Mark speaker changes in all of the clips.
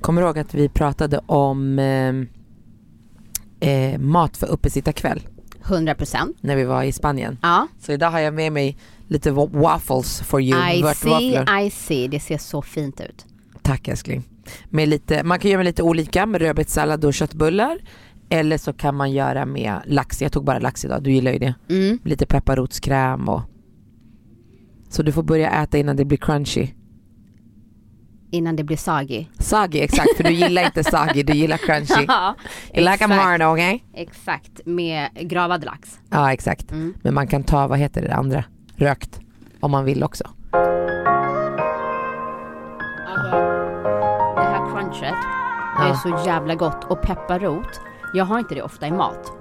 Speaker 1: Kommer du ihåg att vi pratade om eh, eh, mat för uppesittarkväll
Speaker 2: 100 procent.
Speaker 1: när vi var i Spanien?
Speaker 2: Ja.
Speaker 1: Så idag har jag med mig lite wa- waffles for you.
Speaker 2: I
Speaker 1: Vörtwafflor.
Speaker 2: see, I see. Det ser så fint ut.
Speaker 1: Tack älskling. Med lite, man kan göra med lite olika med rödbetssallad och köttbullar. Eller så kan man göra med lax. Jag tog bara lax idag, du gillar ju det.
Speaker 2: Mm.
Speaker 1: Lite pepparrotskräm och... Så du får börja äta innan det blir crunchy.
Speaker 2: Innan det blir sagi.
Speaker 1: Sagi exakt, för du gillar inte sagi, du gillar crunchy.
Speaker 2: Ja,
Speaker 1: You like a
Speaker 2: exakt,
Speaker 1: marno, okej?
Speaker 2: exakt. Med gravad lax.
Speaker 1: Ja exakt.
Speaker 2: Mm.
Speaker 1: Men man kan ta, vad heter det andra? Rökt. Om man vill också.
Speaker 2: Alltså, det här crunchet är
Speaker 1: Ja.
Speaker 2: så jävla gott. Och pepparrot, jag har inte det ofta i mat.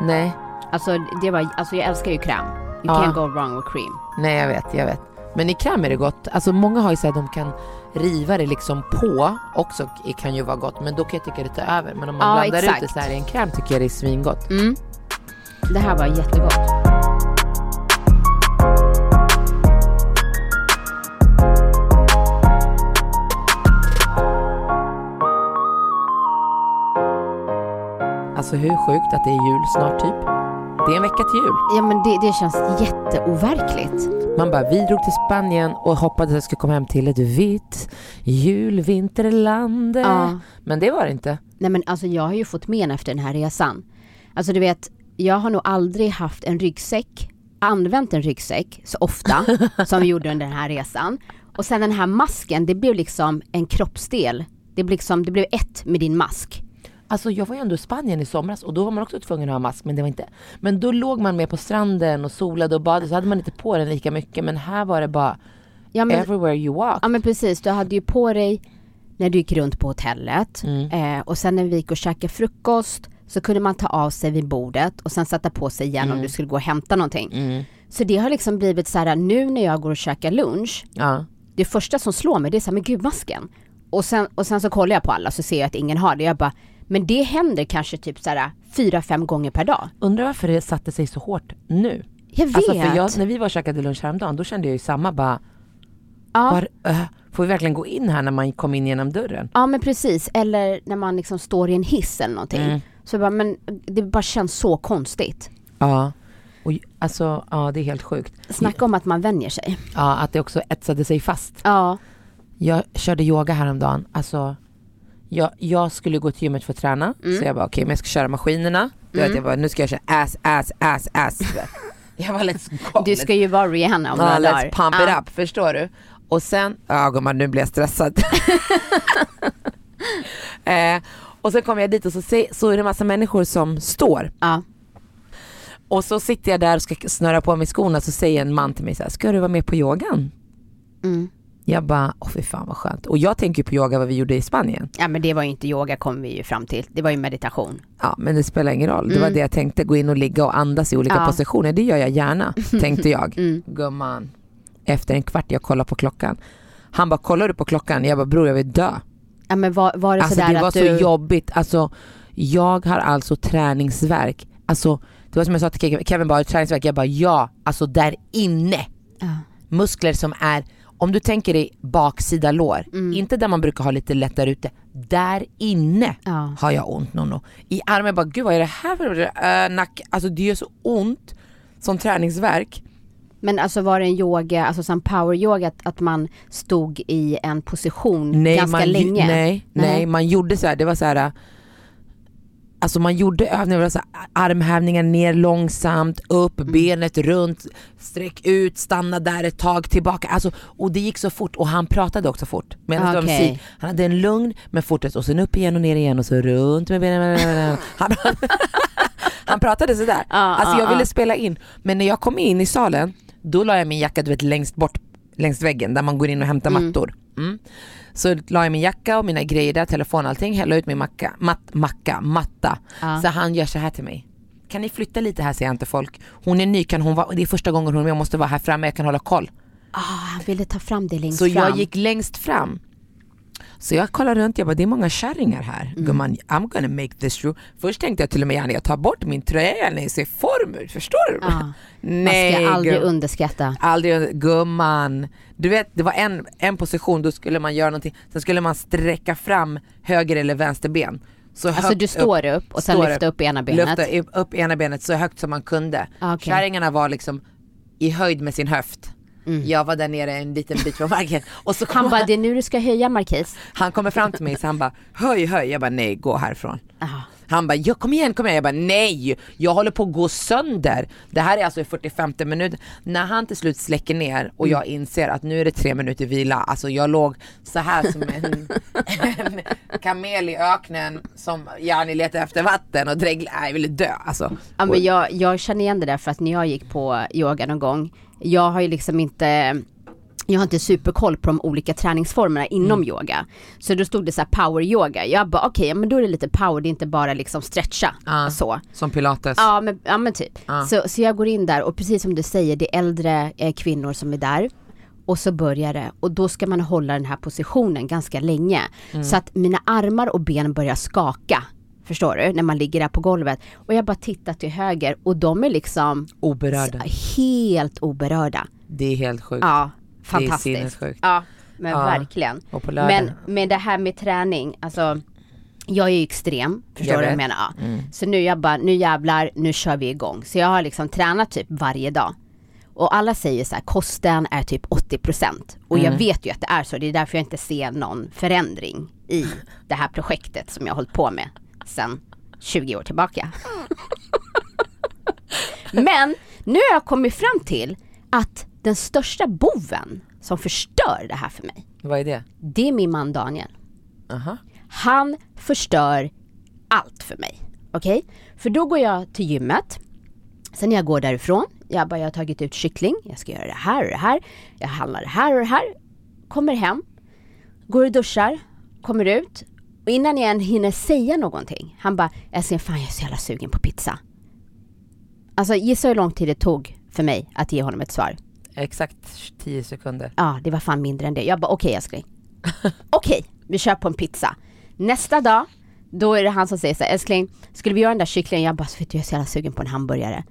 Speaker 1: Nej,
Speaker 2: Alltså, det var, alltså jag älskar ju kräm. You
Speaker 1: Ja.
Speaker 2: can't go wrong with cream.
Speaker 1: nej jag vet, jag vet. Men i kräm är det gott. Alltså många har ju så här, de kan riva det liksom på också k- kan ju vara gott. Men då kan jag tycka det tar över. Men om man
Speaker 2: Ja,
Speaker 1: blandar
Speaker 2: exakt.
Speaker 1: ut det så här i en kräm tycker jag det är svingott.
Speaker 2: Mm. Det här var jättegott.
Speaker 1: Alltså hur sjukt att det är jul snart typ. Det är en vecka till jul.
Speaker 2: Ja men det, det känns jätteoverkligt.
Speaker 1: Man bara, vi drog till Spanien och hoppades att jag skulle komma hem till ett vitt julvinterland.
Speaker 2: Ja.
Speaker 1: Men det var det inte.
Speaker 2: Nej men alltså jag har ju fått men efter den här resan. Alltså du vet, jag har nog aldrig haft en ryggsäck, använt en ryggsäck så ofta som vi gjorde under den här resan. Och sen den här masken, det blev liksom en kroppsdel. Det blev liksom, det blev ett med din mask.
Speaker 1: Alltså jag var ju ändå i Spanien i somras och då var man också tvungen att ha mask men det var inte. Men då låg man mer på stranden och solade och badade så hade man inte på den lika mycket men här var det bara
Speaker 2: Ja men,
Speaker 1: everywhere you walk.
Speaker 2: ja men precis, du hade ju på dig när du gick runt på hotellet
Speaker 1: Mm.
Speaker 2: eh, och sen när vi gick och käkade frukost så kunde man ta av sig vid bordet och sen sätta på sig igen om du skulle gå och hämta någonting.
Speaker 1: Mm.
Speaker 2: Så det har liksom blivit så här nu när jag går och käkar lunch
Speaker 1: Ja.
Speaker 2: det första som slår mig det är så här, men gud masken. Och sen, och sen så kollar jag på alla så ser jag att ingen har det. Jag bara, men det händer kanske typ så här fyra, fem gånger per dag.
Speaker 1: Undrar varför det satte sig så hårt nu.
Speaker 2: Jag vet.
Speaker 1: Alltså för jag, när vi var och käkade lunch häromdagen då kände jag ju samma bara,
Speaker 2: ja,
Speaker 1: var, äh, får vi verkligen gå in här när man kom in genom dörren?
Speaker 2: ja men precis, eller när man liksom står i en hiss eller någonting. Så jag bara, men det bara känns så konstigt.
Speaker 1: Ja. Och, ju- alltså ja det är helt sjukt.
Speaker 2: Snacka om att man vänjer sig.
Speaker 1: Ja att det också etsade sig fast.
Speaker 2: Ja,
Speaker 1: Jag körde yoga häromdagen. Alltså, jag, jag skulle gå till gymmet för att träna.
Speaker 2: Mm.
Speaker 1: Så jag bara okej men jag ska köra maskinerna. Du vet, jag bara, nu ska jag köra ass, ass, ass, ass. jag bara let's go.
Speaker 2: du ska ju vara Rihanna om
Speaker 1: ah,
Speaker 2: några
Speaker 1: let's
Speaker 2: dagar.
Speaker 1: pump it
Speaker 2: Ja.
Speaker 1: up, förstår du? Och sen, ja gumman nu blir jag stressad. eh, och sen kommer jag dit och så, se, så är det massa människor som står.
Speaker 2: Ja.
Speaker 1: Och så sitter jag där och ska snöra på mig skorna så säger en man till mig så här, ska du vara med på yogan?
Speaker 2: Mm.
Speaker 1: Jag bara, åh fy fan vad skönt. Och jag tänker ju på yoga vad vi gjorde i Spanien.
Speaker 2: ja, men det var ju inte yoga kom vi ju fram till. Det var ju meditation.
Speaker 1: Ja men det spelar ingen roll, det var det jag tänkte, gå in och ligga och andas i olika
Speaker 2: Mm. Ja. Mm.
Speaker 1: positioner, det gör jag gärna, tänkte jag. Gumman, efter en kvart jag kollar på klockan. Han bara, kollar du på klockan? Jag bara, bror jag vill dö.
Speaker 2: Ja, men var, var det
Speaker 1: Alltså
Speaker 2: sådär
Speaker 1: det var
Speaker 2: att
Speaker 1: så
Speaker 2: du...
Speaker 1: jobbigt, alltså jag har alltså träningsverk. Alltså det var som jag sa till Kevin, Kevin bara, har du träningsverk? Jag bara, ja, alltså där inne.
Speaker 2: Ja.
Speaker 1: Muskler som är, om du tänker dig baksida lår,
Speaker 2: Mm.
Speaker 1: inte där man brukar ha lite lättare ute, där inne
Speaker 2: Ja.
Speaker 1: har jag ont Nonno. I armen jag bara, gud vad är det här för uh, nack? Alltså det gör så ont som träningsverk.
Speaker 2: Men alltså var det en yoga, alltså som power yoga, att, att man stod i en position ganska
Speaker 1: man, ju-
Speaker 2: länge?
Speaker 1: Nej, nej.
Speaker 2: Nej.
Speaker 1: man gjorde så här, det var så här. äh, Alltså man gjorde övningar, det var så här, armhävningar ner långsamt, upp,
Speaker 2: Mm.
Speaker 1: benet runt, sträck ut, stanna där ett tag, tillbaka. Alltså, och det gick så fort och han pratade också fort. Medan det var
Speaker 2: Okej.
Speaker 1: musik. Han hade en lugn men fortsatt och sen upp igen och ner igen och så runt med benen. Han, han pratade sådär.
Speaker 2: Ja,
Speaker 1: alltså jag
Speaker 2: ja,
Speaker 1: ville
Speaker 2: ja.
Speaker 1: spela in. Men när jag kom in i salen, då la jag min jacka du vet längst bort, längs väggen där man går in och hämtar mattor. Mm. Så la jag min jacka och mina grejer där, telefon och allting, hällde ut min macka, mat, macka, matta.
Speaker 2: Ja.
Speaker 1: Så han gör så här till mig. Kan ni flytta lite här säger jag till folk. Hon är ny, kan hon vara, det är första gången hon är med, jag måste vara här framme, jag kan hålla koll.
Speaker 2: Ah, han ville ta fram det längst
Speaker 1: Så
Speaker 2: fram.
Speaker 1: jag gick längst fram. Så jag kollar runt, jag bara det är många kärringar här.
Speaker 2: Mm.
Speaker 1: Gumman, I'm gonna make this true. Först tänkte jag till och med Janne, jag tar bort min tröja när jag ser form ut, förstår du?
Speaker 2: Ja.
Speaker 1: Nej,
Speaker 2: Man ska aldrig
Speaker 1: gum-
Speaker 2: underskatta.
Speaker 1: aldrig under- gumman. Du vet, det var en, en position, då skulle man göra någonting, sen skulle man sträcka fram höger eller vänster ben. Så
Speaker 2: Alltså
Speaker 1: högt
Speaker 2: du står upp och sen
Speaker 1: står
Speaker 2: lyfta upp ena benet.
Speaker 1: Lyfta upp- upp ena benet så högt som man kunde.
Speaker 2: Ah, okej.
Speaker 1: Kärringarna var liksom i höjd med sin höft. Jag var där nere en liten bit från marken. Och så kom
Speaker 2: Mm. Han bara, det är nu du ska höja Markis.
Speaker 1: han kommer fram till mig så han bara höj höj, jag bara nej gå härifrån.
Speaker 2: Aha.
Speaker 1: Han bara ja, kom igen kom igen, jag bara nej jag håller på att gå sönder. Det här är alltså i 45 minuter. När han till slut släcker ner och jag
Speaker 2: Mm.
Speaker 1: inser att nu är det tre minuter vila, alltså jag låg så här som en, en kamel i öknen som Jani letar efter vatten och dreglar, nej jag ville dö alltså.
Speaker 2: Ja, men jag, jag känner igen det där för att när jag gick på yoga någon gång, jag har ju liksom inte jag har inte superkoll på de olika träningsformerna
Speaker 1: Mm.
Speaker 2: inom yoga. Så då stod det så här power yoga. Jag bara okej, ja, men då är det lite power, det är inte bara liksom stretcha
Speaker 1: Ja,
Speaker 2: och så.
Speaker 1: Som pilates.
Speaker 2: Ja men, ja, men typ.
Speaker 1: Ja.
Speaker 2: Så, så jag går in där och precis som du säger, det är äldre eh, kvinnor som är där. Och så börjar det och då ska man hålla den här positionen ganska länge.
Speaker 1: Mm.
Speaker 2: Så att mina armar och ben börjar skaka. Förstår du? När man ligger där på golvet. Och jag bara tittar till höger och de är liksom
Speaker 1: Oberörda.
Speaker 2: s- helt oberörda.
Speaker 1: Det är helt sjukt.
Speaker 2: Ja,
Speaker 1: Det är
Speaker 2: fantastiskt.
Speaker 1: sinnessjukt.
Speaker 2: Ja, men
Speaker 1: Ja.
Speaker 2: verkligen.
Speaker 1: Och på lördagen.
Speaker 2: men, men det här med träning, alltså jag är ju extrem, förstår
Speaker 1: Jag
Speaker 2: du vad jag
Speaker 1: vet. Mm.
Speaker 2: menar? Ja. Så nu jag bara, nu jävlar, nu kör vi igång. Så jag har liksom tränat typ varje dag. Och alla säger så här, kosten är typ 80% och
Speaker 1: Mm.
Speaker 2: jag vet ju att det är så, det är därför jag inte ser någon förändring i det här projektet som jag har hållit på med sedan 20 år tillbaka. Men nu har jag kommit fram till att den största boven som förstör det här för mig,
Speaker 1: Vad är det?
Speaker 2: det är min man Daniel.
Speaker 1: Aha.
Speaker 2: Han förstör allt för mig. Okej? För då går jag till gymmet. Sen när jag går därifrån, jag bara jag har tagit ut kyckling, jag ska göra det här och det här, jag handlar det här och det här. Kommer hem, går och duschar, kommer ut. Och innan jag än hinner säga någonting, han bara älskling fan jag är så jävla sugen på pizza. Alltså gissa hur lång tid det tog för mig att ge honom ett svar.
Speaker 1: Exakt 10 sekunder.
Speaker 2: Ja, det var fan mindre än det. Jag bara okej älskling. Okej, vi kör på en pizza. Nästa dag, då är det han som säger så här, älskling, skulle vi göra den där kycklingen? Jag bara, så vet du, jag är så jävla sugen på en hamburgare.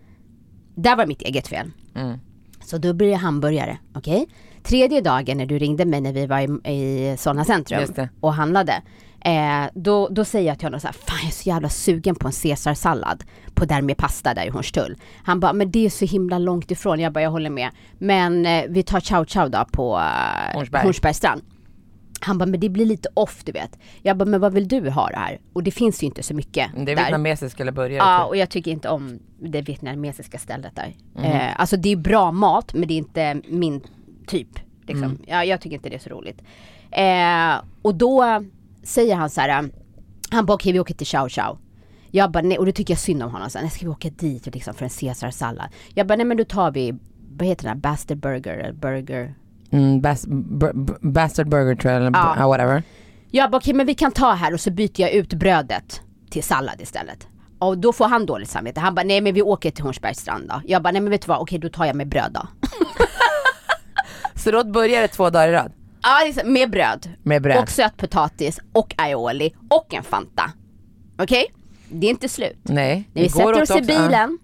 Speaker 2: Där var mitt eget fel.
Speaker 1: Mm.
Speaker 2: Så då blir det hamburgare, okej? Tredje dagen när du ringde mig när vi var i, i Solna centrum
Speaker 1: Just det.
Speaker 2: och handlade. Eh, då, då säger jag till honom så här, fan jag är så jävla sugen på en caesarsallad på där med pasta där i Hornstull. Han bara, men det är så himla långt ifrån. Jag bara, jag håller med. Men eh, vi tar chow chow då på eh,
Speaker 1: Hornsberg.
Speaker 2: Hornsbergsstrand. Han bara, men det blir lite off du vet. Jag bara, men vad vill du ha det här? Och det finns ju inte så mycket
Speaker 1: Det är
Speaker 2: där.
Speaker 1: vietnamesiska eller burgare.
Speaker 2: Ja,
Speaker 1: typ.
Speaker 2: och jag tycker inte om det vietnamesiska stället där. Eh, alltså det är bra mat, men det är inte min typ. Liksom. Ja, jag tycker inte det är så roligt. Eh, och då säger han så här, han bara okej vi åker till Chow Chow. Jag bara nej, och då tycker jag synd om honom. Så här, nej, ska vi åka dit och liksom för en caesarsallad? Jag bara nej men då tar vi, vad heter den här, bastard burger eller burger?
Speaker 1: Mm, bas- bur- bur- bastard burger tror jag, eller
Speaker 2: Ja.
Speaker 1: ja. whatever.
Speaker 2: Jag bara okej men vi kan ta här och så byter jag ut brödet till sallad istället. Och då får han dåligt samvete. Han bara nej men vi åker till Hornsbergsstrand då. Jag bara nej men vet du vad, okej då tar jag med bröd då.
Speaker 1: Så då börjar det två dagar i rad?
Speaker 2: Ja liksom, med bröd.
Speaker 1: Med bröd.
Speaker 2: Och sötpotatis och aioli och en Fanta. Okej? Det är inte slut.
Speaker 1: Nej.
Speaker 2: När vi
Speaker 1: igår
Speaker 2: sätter
Speaker 1: åkte
Speaker 2: oss i
Speaker 1: också- ja,
Speaker 2: bilen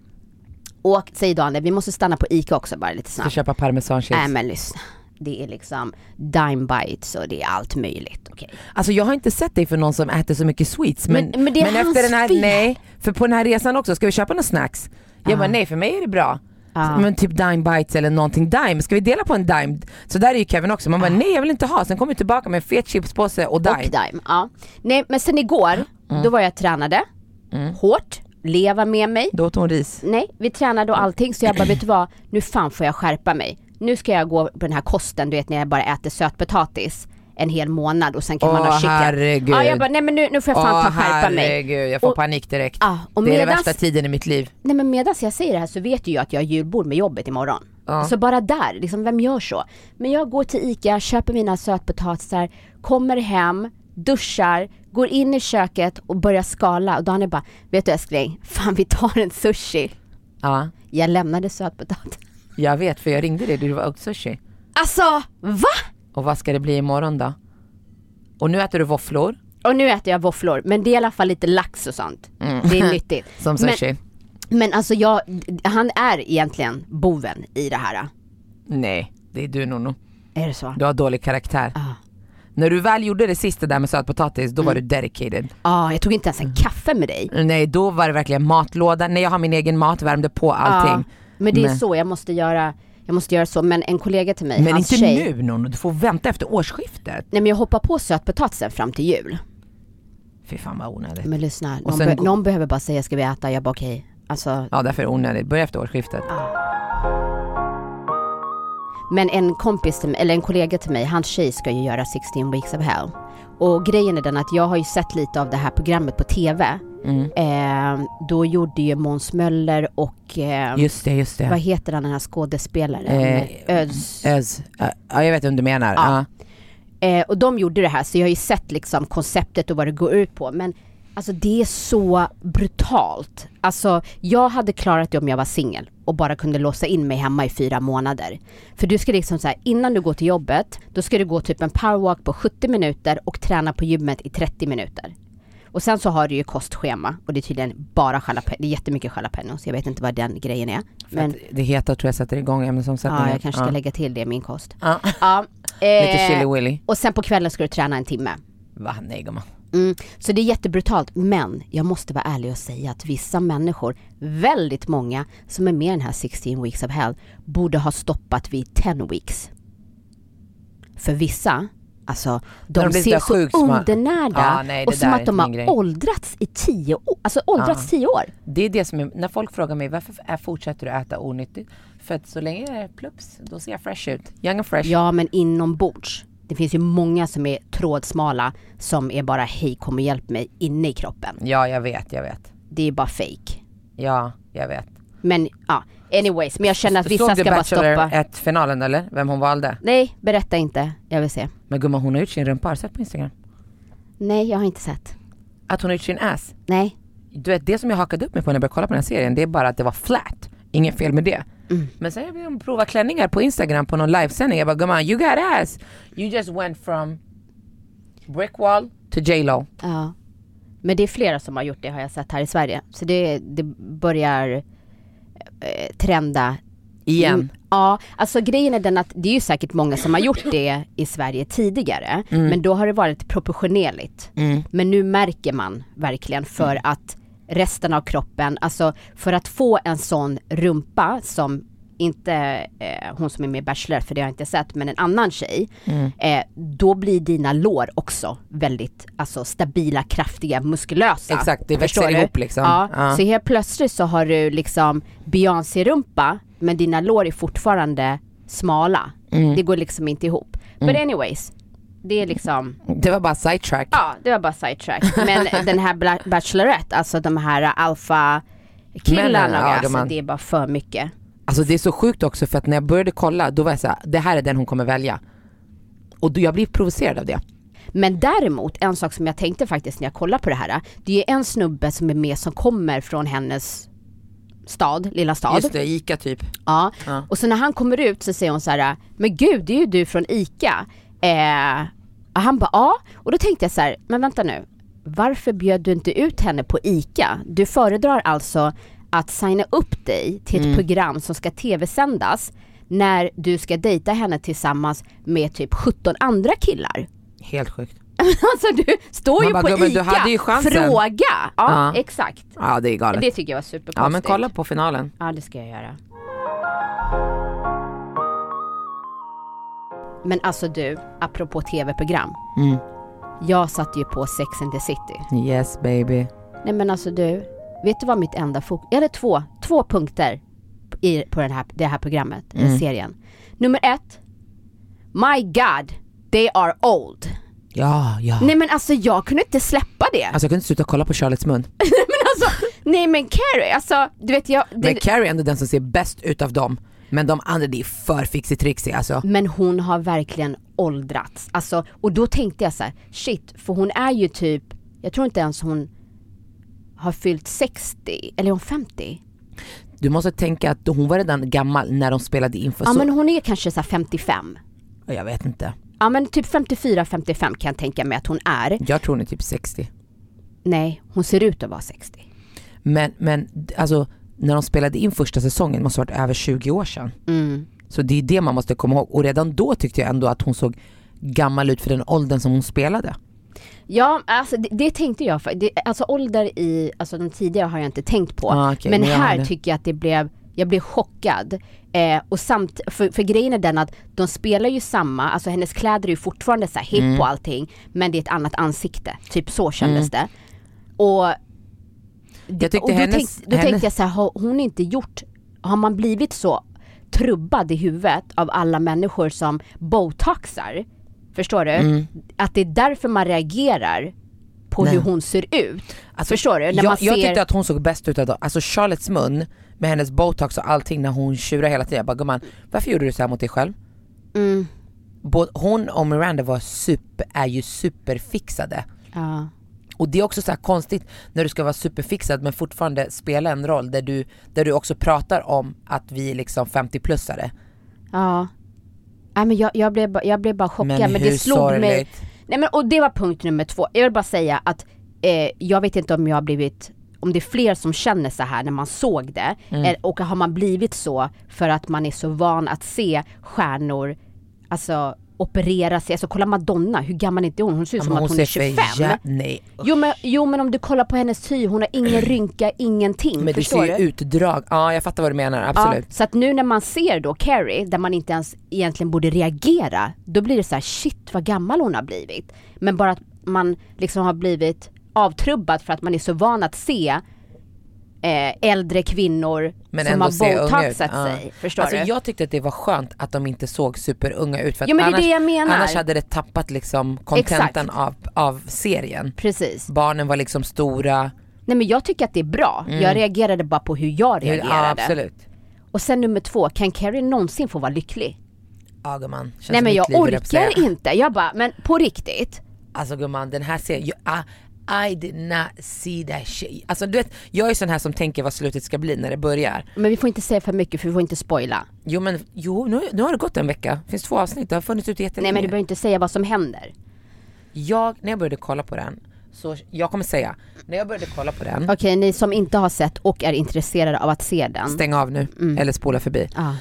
Speaker 2: och säger Daniel vi måste stanna på ICA också bara lite
Speaker 1: Ska
Speaker 2: snabbt.
Speaker 1: köpa parmesanchips.
Speaker 2: Nej men lyssna. Det är liksom dime bites och det är allt möjligt. Okej.
Speaker 1: Alltså jag har inte sett dig för någon som äter så mycket sweets. Men,
Speaker 2: Men- men det är hans
Speaker 1: efter den här,
Speaker 2: fel.
Speaker 1: nej. För på den här resan också, ska vi köpa några snacks? Jag bara nej för mig är det bra.
Speaker 2: Ja.
Speaker 1: Men typ dime bites eller någonting dime, ska vi dela på en dime? Så där är ju Kevin också, man bara nej jag vill inte ha. Sen kommer vi tillbaka med en fet chipspåse och Mm. dime.
Speaker 2: Och Dime, ja. Nej men sen igår, då var jag tränade.
Speaker 1: Mm.
Speaker 2: Hårt. Leva med mig.
Speaker 1: Då åt hon ris.
Speaker 2: Nej, vi tränade
Speaker 1: Mm.
Speaker 2: och allting så jag bara, vet du vad, nu fan får jag skärpa mig. Nu ska jag gå på den här kosten, du vet när jag bara äter sötpotatis en hel månad och sen kan man
Speaker 1: Åh,
Speaker 2: ha chicken.
Speaker 1: herregud.
Speaker 2: Ja, jag bara, nej men nu, nu får jag fan ta skärpa mig.
Speaker 1: herregud, jag får
Speaker 2: Och-
Speaker 1: panik direkt.
Speaker 2: Ja, och
Speaker 1: det är den
Speaker 2: medans-
Speaker 1: värsta tiden i mitt liv.
Speaker 2: Nej men medan jag säger det här så vet ju jag att jag har julbord med jobbet imorgon. Så bara där, liksom, vem gör så? Men jag går till ICA, köper mina sötpotatisar, kommer hem, duschar, går in i köket och börjar skala och Daniel bara, vet du älskling, fan vi tar en sushi.
Speaker 1: Ja,
Speaker 2: Jag lämnade sötpotatisen.
Speaker 1: jag vet för jag ringde dig, du var åt sushi.
Speaker 2: Alltså, va?
Speaker 1: Och vad ska det bli imorgon då? Och nu äter du våfflor
Speaker 2: Och nu äter jag våfflor, men det är i alla fall lite lax och sånt. Det är nyttigt.
Speaker 1: som
Speaker 2: men,
Speaker 1: sushi.
Speaker 2: men alltså jag, han är egentligen boven i det här.
Speaker 1: Nej, det är du Nono.
Speaker 2: Är det så? Ah.
Speaker 1: Du har dålig karaktär. När du väl gjorde det sista där med sötpotatis, då var
Speaker 2: Mm.
Speaker 1: du dedicated.
Speaker 2: Ja, Ah, jag tog inte ens en kaffe med dig.
Speaker 1: Nej, då var det verkligen matlåda. Nej, jag har min egen mat, värmde på allting.
Speaker 2: Ja, men det är
Speaker 1: Nej.
Speaker 2: så jag måste göra, jag måste göra så. Men en kollega till mig,
Speaker 1: Men
Speaker 2: hans
Speaker 1: inte
Speaker 2: tjej,
Speaker 1: nu Nono, du får vänta efter årsskiftet.
Speaker 2: Nej men jag hoppar på sötpotatisen fram till jul.
Speaker 1: Fy fan vad onödigt.
Speaker 2: Men lyssna, någon,
Speaker 1: sen
Speaker 2: be-
Speaker 1: gå-
Speaker 2: någon behöver bara säga ska vi äta? Jag bara okej. Alltså,
Speaker 1: Ja, därför är det onödigt. Börja efter årsskiftet.
Speaker 2: men en kompis till mig, eller en kollega till mig, hans tjej ska ju göra 16 weeks of hell. Och grejen är den att jag har ju sett lite av det här programmet på TV.
Speaker 1: Mm.
Speaker 2: Eh, då gjorde ju Måns Möller och, eh,
Speaker 1: Just det, just
Speaker 2: vad
Speaker 1: det.
Speaker 2: heter han den här skådespelaren?
Speaker 1: Eh,
Speaker 2: Öds.
Speaker 1: Ös. Ja, jag vet vem du menar. Ja.
Speaker 2: Eh, och de gjorde det här så jag har ju sett liksom konceptet och vad det går ut på. Men alltså det är så brutalt. Alltså jag hade klarat det om jag var singel och bara kunde låsa in mig hemma i fyra månader. För du ska liksom så här, innan du går till jobbet, då ska du gå typ en powerwalk på 70 minuter och träna på gymmet i 30 minuter. Och sen så har du ju kostschema och det är tydligen bara jalapeno, det är jättemycket jalapenos, jag vet inte vad den grejen är. Men
Speaker 1: Det heta tror jag sätter igång ämnesomsättningen.
Speaker 2: ja, jag kanske ska lägga till det i min kost.
Speaker 1: Ja.
Speaker 2: Ja,
Speaker 1: Lite
Speaker 2: eh,
Speaker 1: chili willy.
Speaker 2: och sen på kvällen ska du träna en timme.
Speaker 1: Va? Nej gumman.
Speaker 2: Mm. Så det är jättebrutalt, men jag måste vara ärlig och säga att vissa människor, väldigt många som är med i den här 16 weeks of hell, borde ha stoppat vid 10 weeks. För vissa, alltså de,
Speaker 1: När de blir
Speaker 2: ser
Speaker 1: där
Speaker 2: så
Speaker 1: sjukt sma-
Speaker 2: undernärda
Speaker 1: Ja, "Ah, nej, det
Speaker 2: och som
Speaker 1: där är
Speaker 2: att de
Speaker 1: inte
Speaker 2: har
Speaker 1: min grej. Ah.
Speaker 2: åldrats i 10 år. Alltså åldrats 10 år.
Speaker 1: Det är det som är, när folk frågar mig varför är, fortsätter du äta onyttigt? För att så länge det är plups, då ser jag fresh ut. Young and fresh.
Speaker 2: Ja, men inombords. Det finns ju många som är trådsmala som är bara hej kom och hjälp mig inne i kroppen.
Speaker 1: ja, jag vet, jag vet.
Speaker 2: Det är bara fake.
Speaker 1: Ja, jag vet.
Speaker 2: Men ja, anyways, men jag känner att vissa
Speaker 1: Såg
Speaker 2: ska
Speaker 1: du
Speaker 2: bara stoppa.
Speaker 1: Bachelor 1-finalen eller? Vem hon valde?
Speaker 2: Nej, berätta inte. Jag vill se.
Speaker 1: Men gumman hon har gjort sin rumpa, har du sett på Instagram?
Speaker 2: Nej, jag har inte sett.
Speaker 1: Att hon har gjort sin ass.
Speaker 2: Nej.
Speaker 1: Du vet det som jag hakade upp mig på när jag började kolla på den här serien, det är bara att det var flat. Inget fel med det.
Speaker 2: Mm.
Speaker 1: Men sen ville de prova klänningar på Instagram på någon livesändning. Jag bara gumman, you got ass! You just went from brick wall to J Lo.
Speaker 2: Ja. Men det är flera som har gjort det har jag sett här i Sverige. Så det, det börjar eh, trenda.
Speaker 1: Igen.
Speaker 2: Mm, Ja, alltså grejen är den att det är ju säkert många som har gjort det i Sverige tidigare. Men då har det varit proportionerligt. Men nu märker man verkligen för att resten av kroppen, alltså för att få en sån rumpa som inte eh, hon som är med i Bachelor, för det har jag inte sett, men en annan tjej. Eh, då blir dina lår också väldigt alltså, stabila, kraftiga, muskulösa.
Speaker 1: Exakt, det
Speaker 2: Förstår
Speaker 1: växer
Speaker 2: du?
Speaker 1: ihop liksom.
Speaker 2: Ja,
Speaker 1: Ja.
Speaker 2: Så helt plötsligt så har du liksom Beyoncé-rumpa, men dina lår är fortfarande smala.
Speaker 1: Mm.
Speaker 2: Det går liksom inte ihop. But anyways, det är liksom
Speaker 1: Det var bara sidetrack.
Speaker 2: Ja, det var bara sidetrack. Men den här Bla- Bachelorette, alltså de här alfa killarna,
Speaker 1: Männen, ja,
Speaker 2: alltså,
Speaker 1: gumman.
Speaker 2: det är bara för mycket.
Speaker 1: Alltså det är så sjukt också för att när jag började kolla då var jag såhär, det här är den hon kommer välja. Och då, jag blir provocerad av det.
Speaker 2: Men däremot, en sak som jag tänkte faktiskt när jag kollade på det här, det är ju en snubbe som är med som kommer från hennes stad, lilla stad.
Speaker 1: Just det, Ica typ.
Speaker 2: Ja.
Speaker 1: Ja.
Speaker 2: Och så när han kommer ut så säger hon så här, men gud det är ju du från ICA. Eh, och han bara ja, och då tänkte jag så här, men vänta nu, varför bjöd du inte ut henne på ICA? Du föredrar alltså att signa upp dig till ett
Speaker 1: Mm.
Speaker 2: program som ska tv-sändas när du ska dejta henne tillsammans med typ 17 andra killar.
Speaker 1: Helt sjukt.
Speaker 2: Alltså du står
Speaker 1: Man
Speaker 2: ju
Speaker 1: bara,
Speaker 2: på
Speaker 1: "Gubben, du
Speaker 2: ICA,
Speaker 1: hade ju chansen."
Speaker 2: fråga! Ja,
Speaker 1: Ja.
Speaker 2: exakt.
Speaker 1: Ja det är galet.
Speaker 2: Det tycker jag var superkonstigt.
Speaker 1: ja men kolla på finalen.
Speaker 2: Ja, det ska jag göra. Men alltså du, apropå tv-program. Jag satte ju på Sex and the City.
Speaker 1: Yes baby.
Speaker 2: Nej men alltså du, vet du vad mitt enda fokus... Jag hade två, två punkter i, på den här, det här programmet, den serien. Nummer ett, My God, they are old.
Speaker 1: Ja, ja.
Speaker 2: Nej men alltså jag kunde inte släppa det.
Speaker 1: Alltså jag kunde inte sluta kolla på Charlottes mun.
Speaker 2: Men alltså, nej men Carrie, alltså du vet jag... det-
Speaker 1: Men Carrie är ändå den som ser bäst ut av dem. Men de andra, det är för fixi-trixi alltså.
Speaker 2: Men hon har verkligen åldrats. Alltså, och då tänkte jag så här, shit, för hon är ju typ, jag tror inte ens hon har fyllt 60, eller är hon 50?
Speaker 1: Du måste tänka att hon var redan gammal när de spelade in för
Speaker 2: Ja
Speaker 1: så.
Speaker 2: men hon är kanske så här 55.
Speaker 1: Jag vet inte.
Speaker 2: Ja men typ 54-55 kan jag tänka mig att hon är.
Speaker 1: Jag tror hon är typ 60.
Speaker 2: Nej, hon ser ut att vara 60.
Speaker 1: Men, men alltså, när de spelade in första säsongen måste ha varit över 20 år sedan.
Speaker 2: Mm.
Speaker 1: Så det är det man måste komma ihåg. Och redan då tyckte jag ändå att hon såg gammal ut för den åldern som hon spelade.
Speaker 2: Ja, alltså det, det tänkte jag. För, det, alltså ålder i, alltså de tidigare har jag inte tänkt på.
Speaker 1: Ah, okej,
Speaker 2: men
Speaker 1: men jag har
Speaker 2: här
Speaker 1: det.
Speaker 2: tycker jag att det blev, jag blev chockad. Eh, och samt, för, för grejen är den att de spelar ju samma, alltså hennes kläder är ju fortfarande så här hip
Speaker 1: Mm.
Speaker 2: och allting. Men det är ett annat ansikte, typ så kändes det. Och, det,
Speaker 1: Jag Mm. tyckte
Speaker 2: och då,
Speaker 1: hennes-
Speaker 2: tänk, då
Speaker 1: hennes-
Speaker 2: tänkte jag så här, har hon inte gjort, har man blivit så trubbad i huvudet av alla människor som botoxar? Förstår
Speaker 1: Mm.
Speaker 2: du? Att det är därför man reagerar på hur hon ser ut. Förstår du? Alltså, När
Speaker 1: Alltså, jag, jag
Speaker 2: man ser...
Speaker 1: tyckte att hon såg bäst ut av dem. Alltså Charlottes mun med hennes botox och allting när hon tjurar hela tiden. Jag bara gumman, varför gjorde du så här mot dig själv?
Speaker 2: Mm.
Speaker 1: Både hon och Miranda var super, är ju superfixade.
Speaker 2: ja.
Speaker 1: Och det är också så här konstigt när du ska vara superfixad men fortfarande spela en roll där du, där du också pratar om att vi är liksom 50-plussare.
Speaker 2: ja. Nej men jag, jag, blev, ba- jag blev bara chockad.
Speaker 1: Men
Speaker 2: Men,
Speaker 1: hur
Speaker 2: det slog mig.
Speaker 1: sorgligt.
Speaker 2: Nej men och det var punkt nummer två. Jag vill bara säga att eh, jag vet inte om jag har blivit om det är fler som känner så här när man såg det
Speaker 1: Mm.
Speaker 2: eh, och har man blivit så för att man är så van att se stjärnor alltså operera sig, alltså kolla Madonna, hur gammal inte är hon? Hon ser ut som
Speaker 1: Men
Speaker 2: att hon är
Speaker 1: ser
Speaker 2: 25.
Speaker 1: för jä- Nej.
Speaker 2: Jo men, jo men om du kollar på hennes hy, hon har ingen rynka, ingenting.
Speaker 1: Men det
Speaker 2: förstår
Speaker 1: ser ju
Speaker 2: du?
Speaker 1: utdrag, ja jag fattar vad du menar
Speaker 2: Ja,
Speaker 1: absolut.
Speaker 2: så att nu när man ser då Carrie, där man inte ens egentligen borde reagera, då blir det så här: shit vad gammal hon har blivit. Men bara att man liksom har blivit avtrubbad för att man är så van att se eh, äldre kvinnor
Speaker 1: Men
Speaker 2: som
Speaker 1: ändå
Speaker 2: har
Speaker 1: ser unga ut.
Speaker 2: botoxat
Speaker 1: Ja.
Speaker 2: sig. Förstår
Speaker 1: alltså,
Speaker 2: du?
Speaker 1: Jag tyckte att det var skönt att de inte såg superunga ut för att
Speaker 2: Ja, men det är
Speaker 1: annars,
Speaker 2: det jag menar.
Speaker 1: annars hade det tappat liksom kontenten
Speaker 2: Exakt.
Speaker 1: av, av serien.
Speaker 2: Precis.
Speaker 1: Barnen var liksom stora.
Speaker 2: Nej men jag tycker att det är bra. Jag reagerade bara på hur jag
Speaker 1: Mm. Ja
Speaker 2: reagerade.
Speaker 1: absolut.
Speaker 2: och sen nummer två, kan Carrie någonsin få vara lycklig?
Speaker 1: Ja gumman, känns
Speaker 2: Nej
Speaker 1: som
Speaker 2: men
Speaker 1: Alltså, mitt
Speaker 2: jag
Speaker 1: liv, höll på att säga.
Speaker 2: orkar inte. Jag bara, men på riktigt.
Speaker 1: Alltså gumman den här serien, jag, ah, I, I did not see that shit. Alltså du vet, jag är sån här som tänker vad slutet ska bli när det börjar.
Speaker 2: Men vi får inte säga för mycket för vi får inte spoila.
Speaker 1: Jo men jo, nu, nu har det gått en vecka, finns två avsnitt, det har funnits ute
Speaker 2: Nej
Speaker 1: jättelänge.
Speaker 2: men du behöver inte säga vad som händer.
Speaker 1: Jag, när jag började kolla på den, så jag kommer säga, när jag började kolla på den,
Speaker 2: Okej, ni som inte har sett och är intresserade av att se den.
Speaker 1: stäng av nu
Speaker 2: Mm.
Speaker 1: eller spola förbi.
Speaker 2: Ja.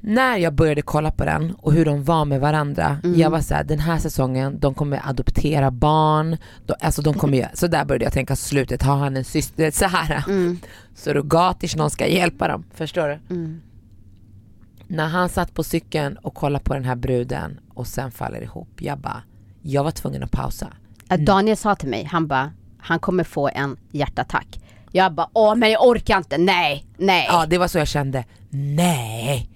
Speaker 1: När jag började kolla på den och hur de var med varandra,
Speaker 2: Mm.
Speaker 1: jag var såhär den här säsongen, de kommer adoptera barn, de, alltså de kommer göra, så där började jag tänka slutet, har han en syster? Så här.
Speaker 2: Mm.
Speaker 1: Surrogatish, någon ska hjälpa dem, förstår du?
Speaker 2: Mm.
Speaker 1: När han satt på cykeln och kollade på den här bruden och sen faller ihop, jag bara, jag var tvungen att pausa.
Speaker 2: Att Daniel sa till mig, han bara, han kommer få en hjärtattack. Jag bara, åh men jag orkar inte, nej, nej. Mm.
Speaker 1: Ja det var så jag kände, nej.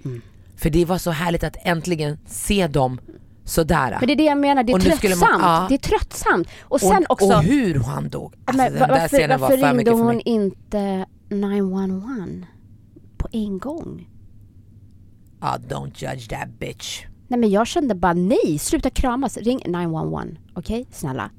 Speaker 1: För det var så härligt att äntligen se dem sådär.
Speaker 2: Men det är det jag menar, det är
Speaker 1: Och nu skulle
Speaker 2: tröttsamt.
Speaker 1: man- ja.
Speaker 2: Det är tröttsamt. Och sen
Speaker 1: och,
Speaker 2: också,
Speaker 1: och hur han dog. Alltså,
Speaker 2: men,
Speaker 1: den
Speaker 2: va-
Speaker 1: där
Speaker 2: varför,
Speaker 1: scenen var
Speaker 2: varför
Speaker 1: för
Speaker 2: ringde
Speaker 1: mycket för
Speaker 2: hon
Speaker 1: mig.
Speaker 2: inte 911 på en gång?
Speaker 1: Ah, don't judge that bitch.
Speaker 2: Nej men jag kände bara, nej, sluta kramas, ring 911, okej, snälla.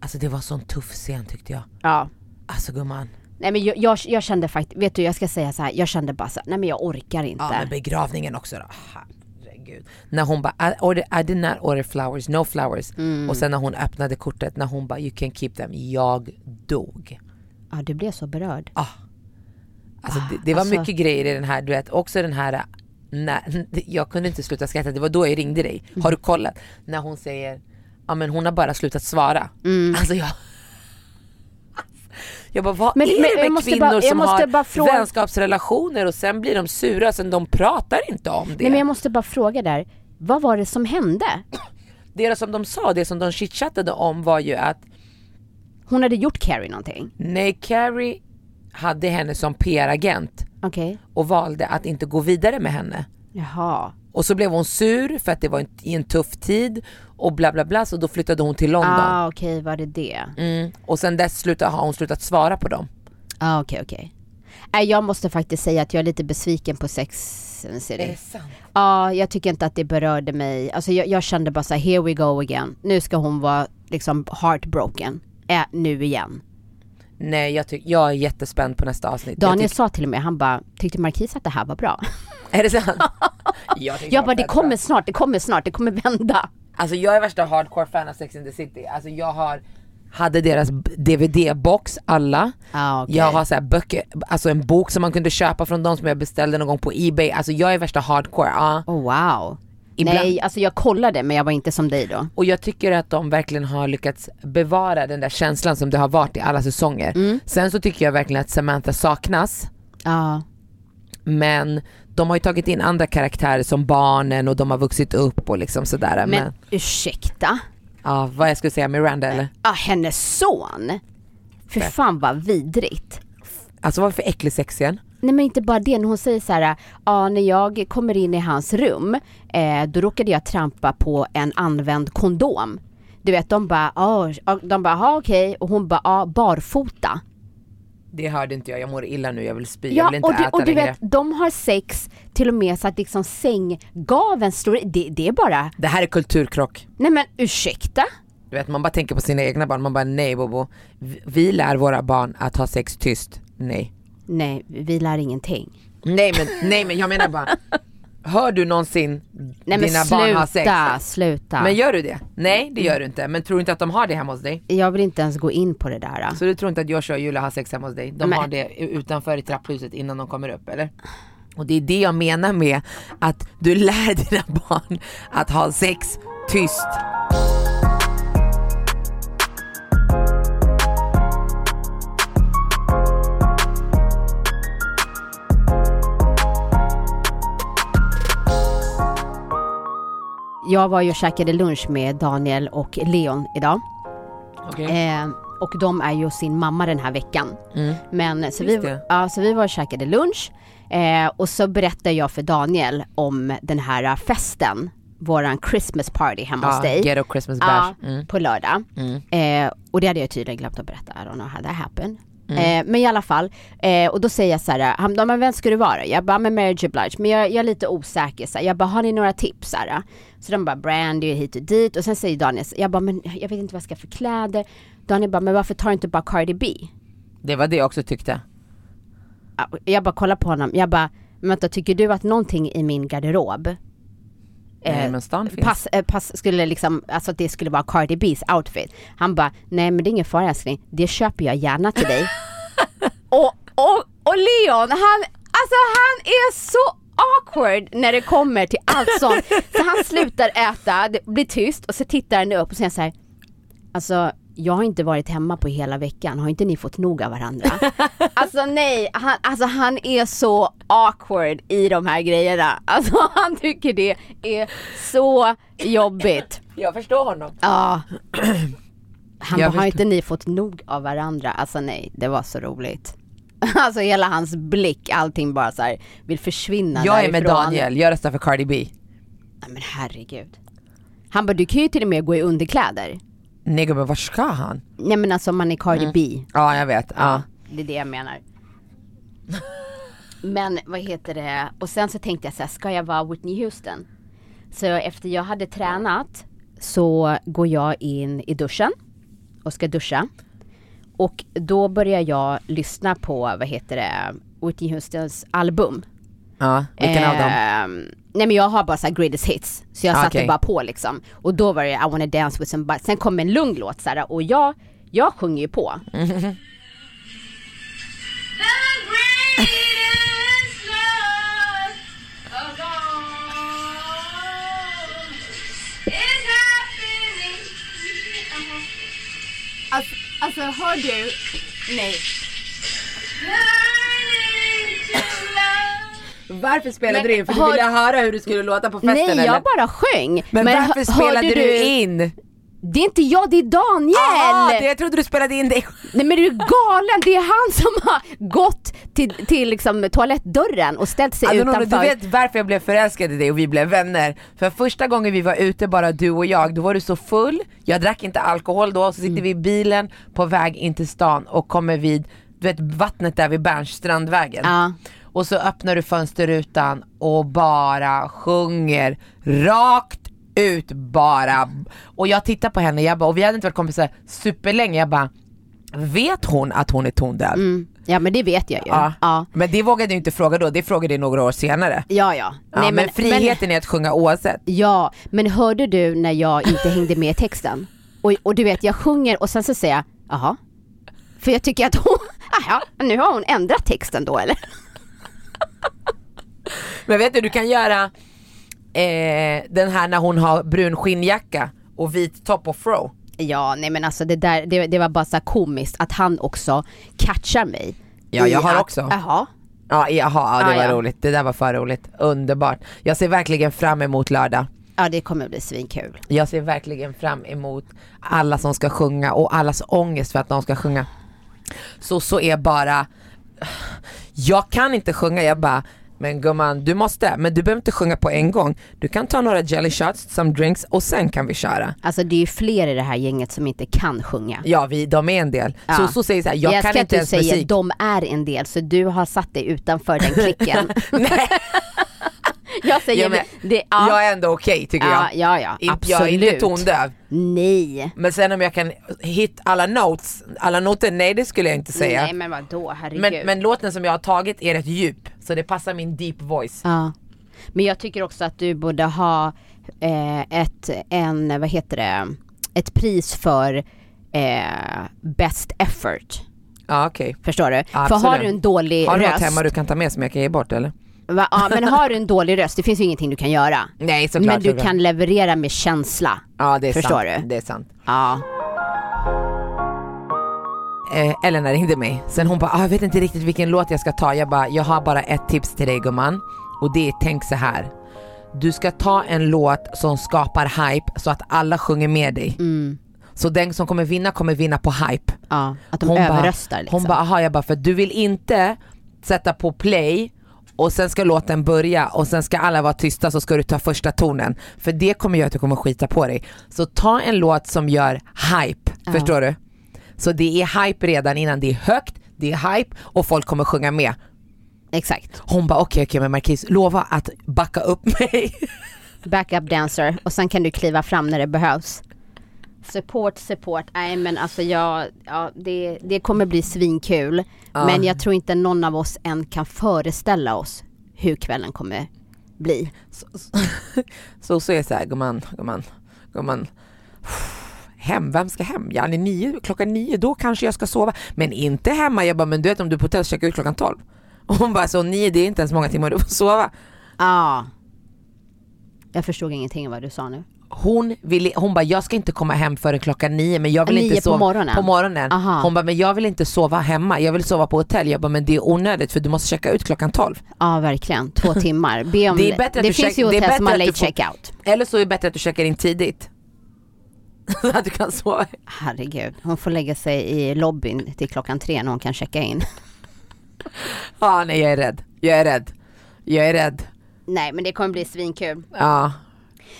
Speaker 1: Alltså det var sån tuff scen tyckte jag.
Speaker 2: Ja.
Speaker 1: Alltså gumman,
Speaker 2: Nej men jag, jag, jag kände faktiskt, vet du jag ska säga så här, jag kände bara så här, nej men jag orkar inte.
Speaker 1: ja, men begravningen också då. Herregud. När hon bara, I, order, I did not order flowers, no flowers.
Speaker 2: Mm.
Speaker 1: Och sen när hon öppnade kortet, när hon bara you can keep them, jag dog.
Speaker 2: Ja du blev så berörd.
Speaker 1: Alltså det, det var
Speaker 2: Alltså-
Speaker 1: mycket grejer i den här, du vet också den här, äh, när, jag kunde inte sluta skratta, det var då jag ringde dig.
Speaker 2: Mm.
Speaker 1: Har du kollat? När hon säger, ja men hon har bara slutat svara.
Speaker 2: Mm.
Speaker 1: Alltså jag jag bara, vad
Speaker 2: Men-
Speaker 1: är
Speaker 2: men
Speaker 1: det
Speaker 2: jag
Speaker 1: med
Speaker 2: måste
Speaker 1: kvinnor
Speaker 2: bara- jag
Speaker 1: som
Speaker 2: måste
Speaker 1: har
Speaker 2: bara fråga-
Speaker 1: vänskapsrelationer och sen blir de sura, sen de pratar inte om det.
Speaker 2: Nej men jag måste bara fråga där, vad var det som hände?
Speaker 1: Det som de sa, det som de chitchattade om var ju att
Speaker 2: Hon hade gjort Carrie någonting.
Speaker 1: nej Carrie hade henne som PR-agent
Speaker 2: Okej.
Speaker 1: och valde att inte gå vidare med henne.
Speaker 2: Jaha.
Speaker 1: Och så blev hon sur för att det var en, i en tuff tid och bla bla bla så då flyttade hon till London.
Speaker 2: Ah okej var det det? Ja
Speaker 1: Mm. Och sen dess sluta, har hon slutat svara på dem.
Speaker 2: ah, okej okej. Nej, jag måste faktiskt säga att jag är lite besviken på Sex and the City.
Speaker 1: Är det sant?
Speaker 2: Ja, jag tycker inte att det berörde mig. Alltså jag, jag kände bara så här, here we go again. Nu ska hon vara liksom heartbroken. Äh, nu igen.
Speaker 1: Nej jag, ty- jag är jättespänd på nästa avsnitt. Jag
Speaker 2: Daniel sa till mig, han bara, tyckte Marquis att det här var bra?
Speaker 1: tyck- är det sant? jag, tyckte
Speaker 2: Jag bara, det
Speaker 1: var
Speaker 2: kommer
Speaker 1: fett bra.
Speaker 2: snart, det kommer snart, det kommer vända.
Speaker 1: Alltså jag är värsta hardcore fan av Sex and the City. Alltså jag har hade deras b- DVD-box alla.
Speaker 2: Ja, okej.
Speaker 1: Jag har så här böcker, alltså en bok som man kunde köpa från dem som jag beställde någon gång på Ebay. Alltså jag är värsta hardcore. Ja.
Speaker 2: Oh, wow.
Speaker 1: Ibland-
Speaker 2: Nej, alltså jag kollade men jag var inte som dig då.
Speaker 1: Och jag tycker att de verkligen har lyckats bevara den där känslan som det har varit i alla säsonger.
Speaker 2: Mm.
Speaker 1: Sen så tycker jag verkligen att Samantha saknas.
Speaker 2: Ja,
Speaker 1: Men de har ju tagit in andra karaktärer som barnen och de har vuxit upp och liksom sådär. Men,
Speaker 2: men ursäkta.
Speaker 1: ja, vad jag skulle säga, Miranda eller?
Speaker 2: Ja, hennes son. För fan vad vidrigt.
Speaker 1: Alltså vad var det för äcklig sexscen?
Speaker 2: Nej men inte bara det, när hon säger så här, ja när jag kommer in i hans rum, eh, då råkade jag trampa på en använd kondom. Du vet de bara, ja, ja, de bara, ja okej, och hon bara, ja barfota.
Speaker 1: Det hörde inte jag, jag mår illa nu, jag vill spy, jag
Speaker 2: Ja
Speaker 1: vill inte
Speaker 2: och du,
Speaker 1: äta
Speaker 2: och du
Speaker 1: längre.
Speaker 2: vet, de har sex till och med så att liksom sänggaveln står, det, det är bara,
Speaker 1: Det här är kulturkrock.
Speaker 2: nej men ursäkta?
Speaker 1: Du vet man bara tänker på sina egna barn, man bara nej Bobo. Vi- Vi lär våra barn att ha sex tyst. Nej.
Speaker 2: Nej, vi lär ingenting.
Speaker 1: Nej men, nej men jag menar bara, hör du någonsin
Speaker 2: Nej men
Speaker 1: dina barn ha sex?
Speaker 2: sluta, sluta.
Speaker 1: Men gör du det? Nej det gör du inte, men tror du inte att de har det hemma hos dig?
Speaker 2: jag vill inte ens gå in på det där. Då.
Speaker 1: Så du tror inte att Joshua och Julia har sex hemma hos dig? De
Speaker 2: Nej.
Speaker 1: har det utanför i trapphuset innan de kommer upp eller? Och det är det jag menar med att du lär dina barn att ha sex tyst.
Speaker 2: Jag var ju och käkade lunch med Daniel och Leon idag.
Speaker 1: Okej. Mm.
Speaker 2: Eh, och de är ju hos sin mamma den här veckan. Men, så, vi,
Speaker 1: det.
Speaker 2: ja, så vi var och käkade lunch eh, och så berättade jag för Daniel om den här eh, festen, våran Christmas party hemma hos
Speaker 1: Ja,
Speaker 2: dig.
Speaker 1: Ghetto Christmas
Speaker 2: Ja,
Speaker 1: bash. Mm.
Speaker 2: på lördag. Eh, och det hade jag tydligen glömt att berätta, I don't know how that happened.
Speaker 1: Mm.
Speaker 2: Eh, men i alla fall, eh, och då säger jag så här, han bara, men vem ska du vara? Jag bara, men Mary J Blige, men jag, jag är lite osäker så här. Jag bara, har ni några tips? Så, här? så de bara, brandy och hit och dit. Och sen säger Daniel, så- jag bara, men jag vet inte vad jag ska ha för kläder. Daniel bara, men varför tar du inte bara Cardi B?
Speaker 1: Det var det jag också tyckte.
Speaker 2: Ja, och Jag bara kollar på honom, jag bara, men vänta, tycker du att någonting i min garderob
Speaker 1: Nej
Speaker 2: eh,
Speaker 1: men stan finns.
Speaker 2: pass, eh, pass skulle liksom, alltså att det skulle vara Cardi B's outfit. Han bara, nej men det är ingen fara älskling, det köper jag gärna till dig. och, och, och Leon, han, alltså han är så awkward när det kommer till allt sånt. Så han slutar äta, det blir tyst och så tittar han upp och säger så här, alltså jag har inte varit hemma på hela veckan, har inte ni fått nog av varandra? Alltså nej, han, alltså, han är så awkward i de här grejerna. Alltså han tycker det är så jobbigt.
Speaker 1: Jag förstår honom.
Speaker 2: Ja.
Speaker 1: Jag
Speaker 2: Han bara, har
Speaker 1: förstår.
Speaker 2: inte ni fått nog av varandra? Alltså nej, det var så roligt. Alltså hela hans blick, allting bara så här vill försvinna
Speaker 1: Jag är
Speaker 2: därifrån.
Speaker 1: med Daniel, jag röstar för Cardi B.
Speaker 2: Nej, men herregud. Han bara, du kan ju till och med gå i underkläder.
Speaker 1: Nej gubben vart ska han?
Speaker 2: Nej men alltså om man är Cardi
Speaker 1: Mm.
Speaker 2: B.
Speaker 1: Ja jag vet. Ja.
Speaker 2: Det är det jag menar. Men vad heter det? Och sen så tänkte jag så här, ska jag vara Whitney Houston? Så efter jag hade tränat så går jag in i duschen och ska duscha. Och då börjar jag lyssna på, vad heter det, Whitney Houstons album.
Speaker 1: ja. Vilken av dem?
Speaker 2: Ehm, Nej men jag har bara så här greatest hits, så jag
Speaker 1: Ah,
Speaker 2: satte
Speaker 1: okej.
Speaker 2: bara på liksom. Och då var det I wanna dance with somebody, sen kom en lugn låt så här, och jag, jag sjunger ju på. Alltså, alltså hör du? Nej.
Speaker 1: Varför spelade
Speaker 2: Men
Speaker 1: du in? För du
Speaker 2: har-
Speaker 1: ville höra hur du skulle låta på festen
Speaker 2: Nej
Speaker 1: eller?
Speaker 2: jag bara sjöng.
Speaker 1: Men, varför
Speaker 2: hö-
Speaker 1: spelade
Speaker 2: hörde
Speaker 1: du, in?
Speaker 2: Det är inte jag, det är Daniel!
Speaker 1: Jaha, det, jag trodde du spelade in dig
Speaker 2: Nej men är du galen? Det är han som har gått till, till liksom toalettdörren och ställt sig
Speaker 1: Alltså, Nora,
Speaker 2: utanför.
Speaker 1: du vet varför jag blev förälskad i dig och vi blev vänner. För första gången vi var ute bara du och jag, då var du så
Speaker 2: Mm.
Speaker 1: full, jag drack inte alkohol då, så sitter vi i bilen på väg in till stan och kommer vid du vet vattnet där vid Bernstrandvägen.
Speaker 2: Ja.
Speaker 1: Och så öppnar du fönsterrutan och bara sjunger rakt ut bara. Och jag tittar på henne, jag bara, och vi hade inte varit kompisar superlänge, jag bara Vet hon att hon är tondöv?
Speaker 2: Mm. Ja men det vet jag ju.
Speaker 1: Ja.
Speaker 2: Ja.
Speaker 1: Men det vågade du inte fråga då, det frågade du några år senare.
Speaker 2: Ja, ja.
Speaker 1: Ja, men, friheten är att sjunga oavsett.
Speaker 2: ja, men hörde du när jag inte hängde med i texten? Och, och du vet, jag sjunger och sen så säger jag, jaha. För jag tycker att hon, jaha, nu har hon ändrat texten då eller?
Speaker 1: Men vet du, du kan göra eh, den här när hon har brun skinnjacka och vit topp och fro.
Speaker 2: Ja, nej men alltså det där, det, det var bara så här komiskt att han också catchar mig.
Speaker 1: Ja,
Speaker 2: i
Speaker 1: jag har
Speaker 2: att,
Speaker 1: också.
Speaker 2: Jaha.
Speaker 1: Ja, jaha, ja, det
Speaker 2: Ah,
Speaker 1: var
Speaker 2: ja.
Speaker 1: roligt. Det där var för roligt. Underbart. Jag ser verkligen fram emot lördag.
Speaker 2: Ja det kommer bli svinkul.
Speaker 1: Jag ser verkligen fram emot alla som ska sjunga och allas ångest för att någon ska sjunga. Så, så är bara, jag kan inte sjunga, jag bara, men gumman du måste, men du behöver inte sjunga på en gång. Du kan ta några jelly shots, some drinks och sen kan vi köra.
Speaker 2: Alltså det är ju fler i det här gänget som inte kan sjunga.
Speaker 1: Ja, vi, de är en del.
Speaker 2: Ja.
Speaker 1: Så, så säger så här, jag, kan
Speaker 2: älskar
Speaker 1: inte
Speaker 2: att
Speaker 1: ens
Speaker 2: du säger
Speaker 1: musik.
Speaker 2: de är en del, så du har satt dig utanför den klicken.
Speaker 1: Nej,
Speaker 2: jag säger
Speaker 1: Ja, men-
Speaker 2: det, ja.
Speaker 1: Jag är ändå okej tycker
Speaker 2: Ja,
Speaker 1: jag.
Speaker 2: ja, ja,
Speaker 1: Inte- Jag är inte
Speaker 2: absolut.
Speaker 1: tondöv.
Speaker 2: Nej.
Speaker 1: Men sen om jag kan hit alla notes, alla noter, nej det skulle jag inte säga.
Speaker 2: Nej men vadå, herregud.
Speaker 1: men, men låten som jag har tagit är rätt djup, så det passar min deep voice.
Speaker 2: Ja. Men jag tycker också att du borde ha eh, ett, en, vad heter det, ett pris för eh, best effort.
Speaker 1: Ja okej.
Speaker 2: Förstår du?
Speaker 1: absolut.
Speaker 2: För har du en dålig
Speaker 1: Har du något
Speaker 2: röst,
Speaker 1: hemma du kan ta med som jag kan ge bort eller?
Speaker 2: va, ja, men har du en dålig röst, det finns ju ingenting du kan göra.
Speaker 1: Nej såklart.
Speaker 2: men du
Speaker 1: såklart.
Speaker 2: kan leverera med känsla.
Speaker 1: Ja det är
Speaker 2: Förstår
Speaker 1: sant.
Speaker 2: du?
Speaker 1: Det är sant.
Speaker 2: Ja.
Speaker 1: Eh, Elena ringde mig, sen hon bara ah, “jag vet inte riktigt vilken låt jag ska ta”. Jag bara “jag har bara ett tips till dig gumman” och det är “tänk så här. Du ska ta en låt som skapar hype så att alla sjunger med dig. Så den som kommer vinna kommer vinna på hype.
Speaker 2: ja. Att de
Speaker 1: bara-
Speaker 2: överröstar liksom.
Speaker 1: Hon bara, aha jag bara, för du vill inte sätta på play och sen ska låten börja och sen ska alla vara tysta så ska du ta första tonen. För det kommer göra att du kommer skita på dig. Så ta en låt som gör hype, förstår du? Så det är hype redan innan, det är högt, det är hype och folk kommer sjunga med.
Speaker 2: Exakt.
Speaker 1: Hon bara okej okej men Marquis lova att backa upp mig.
Speaker 2: Backup dancer och sen kan du kliva fram när det behövs. Support, support. Nej men alltså jag, ja, det, det kommer bli svinkul. Men jag tror inte någon av oss än kan föreställa oss hur kvällen kommer bli.
Speaker 1: Så, så är det såhär, gumman, gumman, gumman. Hem, vem ska hem? Ja, det är nio, klockan nio, då kanske jag ska sova. Men inte hemma. Jag bara, men du vet om du är på hotell så checkar jag ut klockan tolv. Och hon bara, så nio det är inte ens många timmar du får sova.
Speaker 2: Ja. Jag förstod ingenting av vad du sa nu.
Speaker 1: Hon, vill, hon bara, jag ska inte komma hem förrän klockan nio men jag vill
Speaker 2: Nio
Speaker 1: inte
Speaker 2: på
Speaker 1: sova.
Speaker 2: morgonen?
Speaker 1: På morgonen.
Speaker 2: Aha.
Speaker 1: Hon bara, men jag vill inte sova hemma, jag vill sova på hotell. Jag bara, men det är onödigt för du måste checka ut klockan tolv.
Speaker 2: Ja verkligen, två timmar. Be om,
Speaker 1: Det är bättre att
Speaker 2: det
Speaker 1: du
Speaker 2: finns
Speaker 1: check-
Speaker 2: ju
Speaker 1: det är
Speaker 2: hotell som
Speaker 1: bättre
Speaker 2: har
Speaker 1: att du får-
Speaker 2: late checkout.
Speaker 1: Eller så är det bättre att du checkar in tidigt. Så att du kan sova.
Speaker 2: Herregud, hon får lägga sig i lobbyn till klockan tre när hon kan checka in.
Speaker 1: Ja, nej jag är rädd. Jag är rädd. Jag är rädd.
Speaker 2: Nej men det kommer bli svinkul.
Speaker 1: Ja.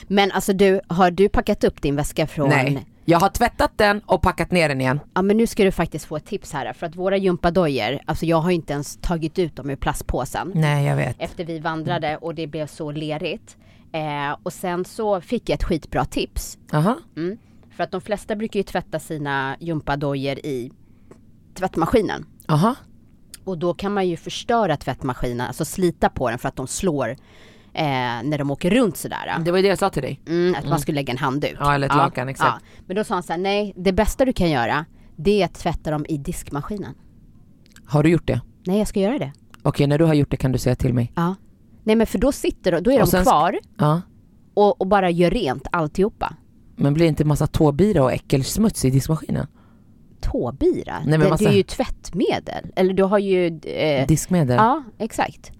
Speaker 2: Men alltså du, har du packat upp din väska från...
Speaker 1: Nej, jag har tvättat den och packat ner den igen.
Speaker 2: Ja men nu ska du faktiskt få ett tips här för att våra gympadojor, alltså jag har inte ens tagit ut dem ur plastpåsen.
Speaker 1: Nej jag vet.
Speaker 2: Efter vi vandrade och det blev så lerigt. Eh, och sen så fick jag ett skitbra tips.
Speaker 1: Aha.
Speaker 2: Mm. För att de flesta brukar ju tvätta sina gympadojor i tvättmaskinen.
Speaker 1: Aha.
Speaker 2: Och då kan man ju förstöra tvättmaskinen, alltså slita på den för att de slår eh, när de åker runt sådär.
Speaker 1: Det var ju det jag sa till dig.
Speaker 2: Mm, att man skulle lägga en handduk.
Speaker 1: Ja, eller ett lakan, exakt.
Speaker 2: Men då sa han så här, nej, det bästa du kan göra, det är att tvätta dem i diskmaskinen.
Speaker 1: Har du gjort det?
Speaker 2: Nej, jag ska göra det.
Speaker 1: Okej, när du har gjort det kan du säga till mig.
Speaker 2: Ja. Nej, men för då sitter de, då är
Speaker 1: Och
Speaker 2: de
Speaker 1: sen sk-
Speaker 2: kvar
Speaker 1: Ja.
Speaker 2: och, och bara gör rent alltihopa.
Speaker 1: Men blir det inte massa tåbira och äckelsmuts i diskmaskinen?
Speaker 2: Tåbira,
Speaker 1: men
Speaker 2: det,
Speaker 1: massa-
Speaker 2: det är ju tvättmedel. Eller du har ju... Eh,
Speaker 1: Diskmedel?
Speaker 2: ja, exakt.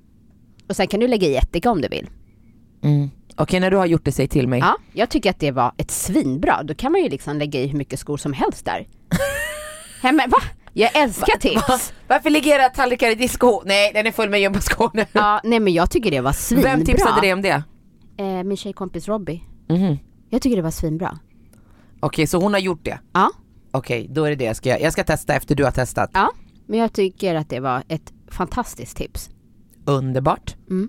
Speaker 2: Och sen kan du lägga i ättika om du vill.
Speaker 1: Mm. Okej, när du har gjort det, säg till mig.
Speaker 2: Ja, jag tycker att det var ett svinbra. Då kan man ju liksom lägga i hur mycket skor som helst där. Nej, men va? Jag älskar
Speaker 1: Va?
Speaker 2: tips.
Speaker 1: Varför ligger era tallrikar i disko? Nej, den är full med gympaskor nu.
Speaker 2: Ja, nej men jag tycker det var svinbra.
Speaker 1: Vem tipsade dig om det?
Speaker 2: Eh, min tjejkompis Robbie.
Speaker 1: Mhm.
Speaker 2: Jag tycker det var svinbra.
Speaker 1: Okej, så hon har gjort det.
Speaker 2: Ja.
Speaker 1: Okej, då är det det jag ska göra. Jag ska testa efter du har testat.
Speaker 2: Ja. Men jag tycker att det var ett fantastiskt tips.
Speaker 1: Underbart.
Speaker 2: Mm.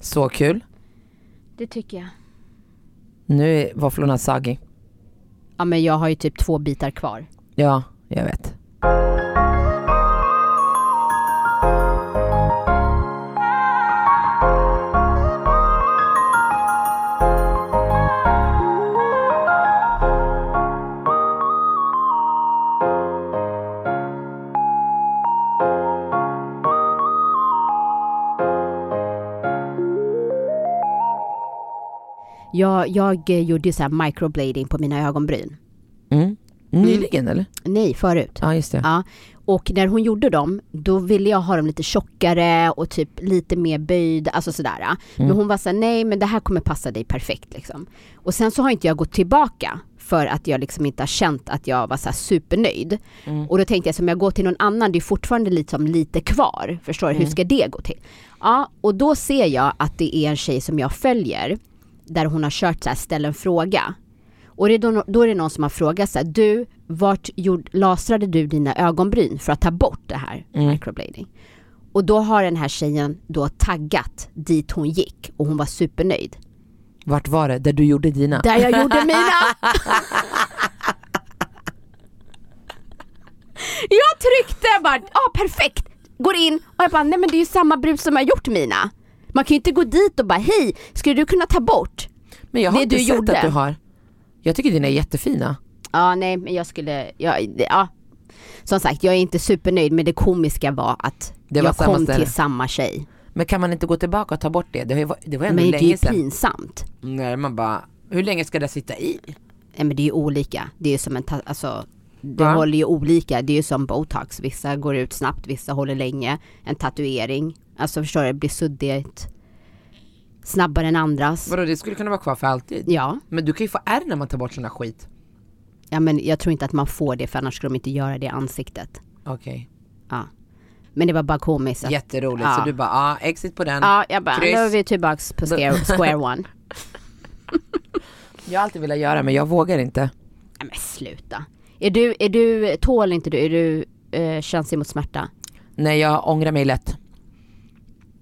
Speaker 1: Så kul.
Speaker 2: Det tycker jag.
Speaker 1: Nu är våfflorna sagi.
Speaker 2: Ja men jag har ju typ två bitar kvar.
Speaker 1: Ja, jag vet.
Speaker 2: Jag, jag eh, gjorde ju så här microblading på mina ögonbryn.
Speaker 1: Mm. Nyligen eller?
Speaker 2: Nej, förut.
Speaker 1: Ja, just det.
Speaker 2: Ja. Och när hon gjorde dem, då ville jag ha dem lite tjockare och typ lite mer böjd, alltså sådär. Men
Speaker 1: Mm.
Speaker 2: hon var såhär, nej men det här kommer passa dig perfekt liksom. Och sen så har inte jag gått tillbaka för att jag liksom inte har känt att jag var så här supernöjd.
Speaker 1: Mm.
Speaker 2: Och då tänkte jag, så om jag går till någon annan, det är fortfarande liksom lite kvar. Förstår
Speaker 1: Mm.
Speaker 2: du, hur ska det gå till? Ja, och då ser jag att det är en tjej som jag följer, där hon har kört så här, ställ en fråga. Och det är då, då är det någon som har frågat så här, du, vart gjord, lasrade du dina ögonbryn för att ta bort det här microblading? Och då har den här tjejen då taggat dit hon gick och hon var supernöjd.
Speaker 1: Vart var det? Där du gjorde dina?
Speaker 2: Där jag gjorde mina! jag tryckte bara, ja perfekt! Går in och jag bara, nej men det är ju samma brus som jag gjort mina. Man kan ju inte gå dit och bara, hej, skulle du kunna ta bort?
Speaker 1: Men jag har
Speaker 2: Det
Speaker 1: inte
Speaker 2: du
Speaker 1: sett
Speaker 2: gjorde.
Speaker 1: att du har. Jag tycker dina är jättefina.
Speaker 2: Ja, nej, men jag skulle, ja, det- ja. Som sagt, jag är inte supernöjd, men det komiska var att
Speaker 1: Det var
Speaker 2: jag
Speaker 1: samma
Speaker 2: kom
Speaker 1: ställe.
Speaker 2: till samma tjej.
Speaker 1: Men kan man inte gå tillbaka och ta bort det? Det, har ju, varit- det var ändå
Speaker 2: Men det är ju
Speaker 1: länge sedan.
Speaker 2: pinsamt.
Speaker 1: Nej, man bara, hur länge ska det sitta i?
Speaker 2: Nej, men det är ju olika. Det är ju som en, ta- alltså, det
Speaker 1: Va?
Speaker 2: håller ju olika. Det är ju som botox. Vissa går ut snabbt, vissa håller länge. En tatuering, alltså förstår du, det blir suddigt snabbare än andras.
Speaker 1: Vadå, det skulle kunna vara kvar för alltid?
Speaker 2: Ja,
Speaker 1: Men du kan ju få ärr när man tar bort sån här skit.
Speaker 2: ja, men jag tror inte att man får det för annars skulle de inte göra det i ansiktet.
Speaker 1: Okej,
Speaker 2: Ja. Men det var bara komiskt. att-
Speaker 1: jätteroligt.
Speaker 2: Ja.
Speaker 1: Så du bara, ah, exit på den.
Speaker 2: Ja, jag bara, nu
Speaker 1: Kryss.
Speaker 2: är vi tillbaks på square, square one.
Speaker 1: Jag har alltid velat göra men jag vågar inte.
Speaker 2: Nej men sluta. Är du, är du, tål inte du, är du eh, känslig mot smärta?
Speaker 1: Nej, jag ångrar mig lätt.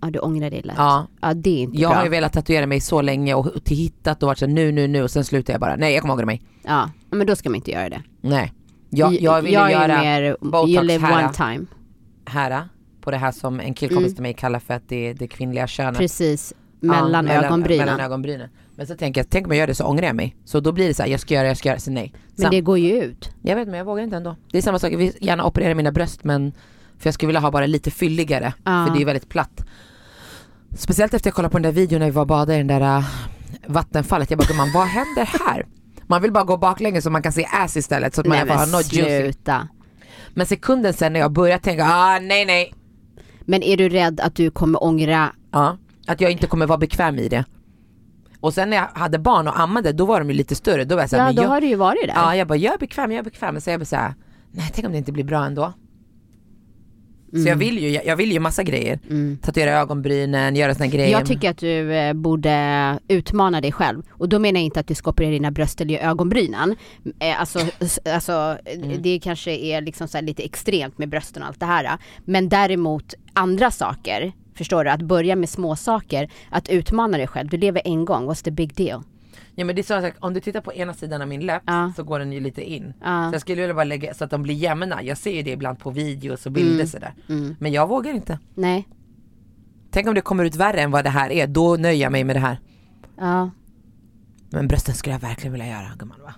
Speaker 2: Ja du ångrar dig lätt.
Speaker 1: Ja.
Speaker 2: ja det är inte
Speaker 1: Jag
Speaker 2: bra.
Speaker 1: har ju velat tatuera mig så länge och, och till hittat och varit såhär nu, nu, nu och sen slutar jag bara. Nej, jag kommer ångra mig.
Speaker 2: Ja, Ja, men då ska man inte göra det.
Speaker 1: Nej. Jag, jag ville
Speaker 2: jag
Speaker 1: göra
Speaker 2: är mer,
Speaker 1: botox
Speaker 2: you live
Speaker 1: här,
Speaker 2: one time.
Speaker 1: här, på det här som en killkompis till mig kallar för att det är det kvinnliga könet.
Speaker 2: Precis,
Speaker 1: Ja,
Speaker 2: mellan ögonbrynen.
Speaker 1: mellan ögonbrynen. Men så tänker jag, tänk om jag gör det så ångrar jag mig. Så då blir det så här, jag ska göra, jag ska göra, så nej.
Speaker 2: men
Speaker 1: Sam-
Speaker 2: det går ju ut.
Speaker 1: Jag vet men jag vågar inte ändå. Det är samma sak, jag vill gärna operera mina bröst men för jag skulle vilja ha bara lite fylligare.
Speaker 2: Ja.
Speaker 1: För det är väldigt platt. Speciellt efter jag kollade på den där videon när vi var och badade i den där äh, vattenfallet. Jag bara, gumman vad händer här? Man vill bara gå baklänges så man kan se ass istället så att man i
Speaker 2: Nej
Speaker 1: alla fall
Speaker 2: men
Speaker 1: har något juicy.
Speaker 2: sluta.
Speaker 1: Men sekunden sen när jag börjar tänka, ah nej nej.
Speaker 2: Men är du rädd att du kommer ångra,
Speaker 1: Ja, att jag inte kommer vara bekväm i det. Och sen när jag hade barn och ammade då var de ju lite större. Då var jag så här,
Speaker 2: ja
Speaker 1: men
Speaker 2: då
Speaker 1: jag,
Speaker 2: har du ju varit där.
Speaker 1: Ja, jag bara, jag är bekväm, jag är bekväm. Men Så jag bara så här, nej tänk om det inte blir bra ändå. Så
Speaker 2: Mm.
Speaker 1: jag vill ju, jag, jag vill ju massa grejer. Tatuera ögonbrynen, göra såna grejer.
Speaker 2: Jag tycker att du eh, borde utmana dig själv. Och då menar jag inte att du ska operera dina bröst eller ögonbrynen. Eh, Alltså, s- alltså eh, det kanske är liksom så här lite extremt med brösten och allt det här. Men däremot andra saker, förstår du? Att börja med små saker, att utmana dig själv. Du lever en gång, what's the big deal?
Speaker 1: Ja men det är så att om du tittar på ena sidan av min läpp
Speaker 2: Ja.
Speaker 1: så går den ju lite in.
Speaker 2: Ja.
Speaker 1: Så jag skulle vilja bara lägga så att de blir jämna. Jag ser ju det ibland på videos och
Speaker 2: Mm.
Speaker 1: bilder sådär. Men jag vågar inte.
Speaker 2: Nej,
Speaker 1: Tänk om det kommer ut värre än vad det här är, då nöjer jag mig med det här.
Speaker 2: ja.
Speaker 1: Men brösten skulle jag verkligen vilja göra gumman va?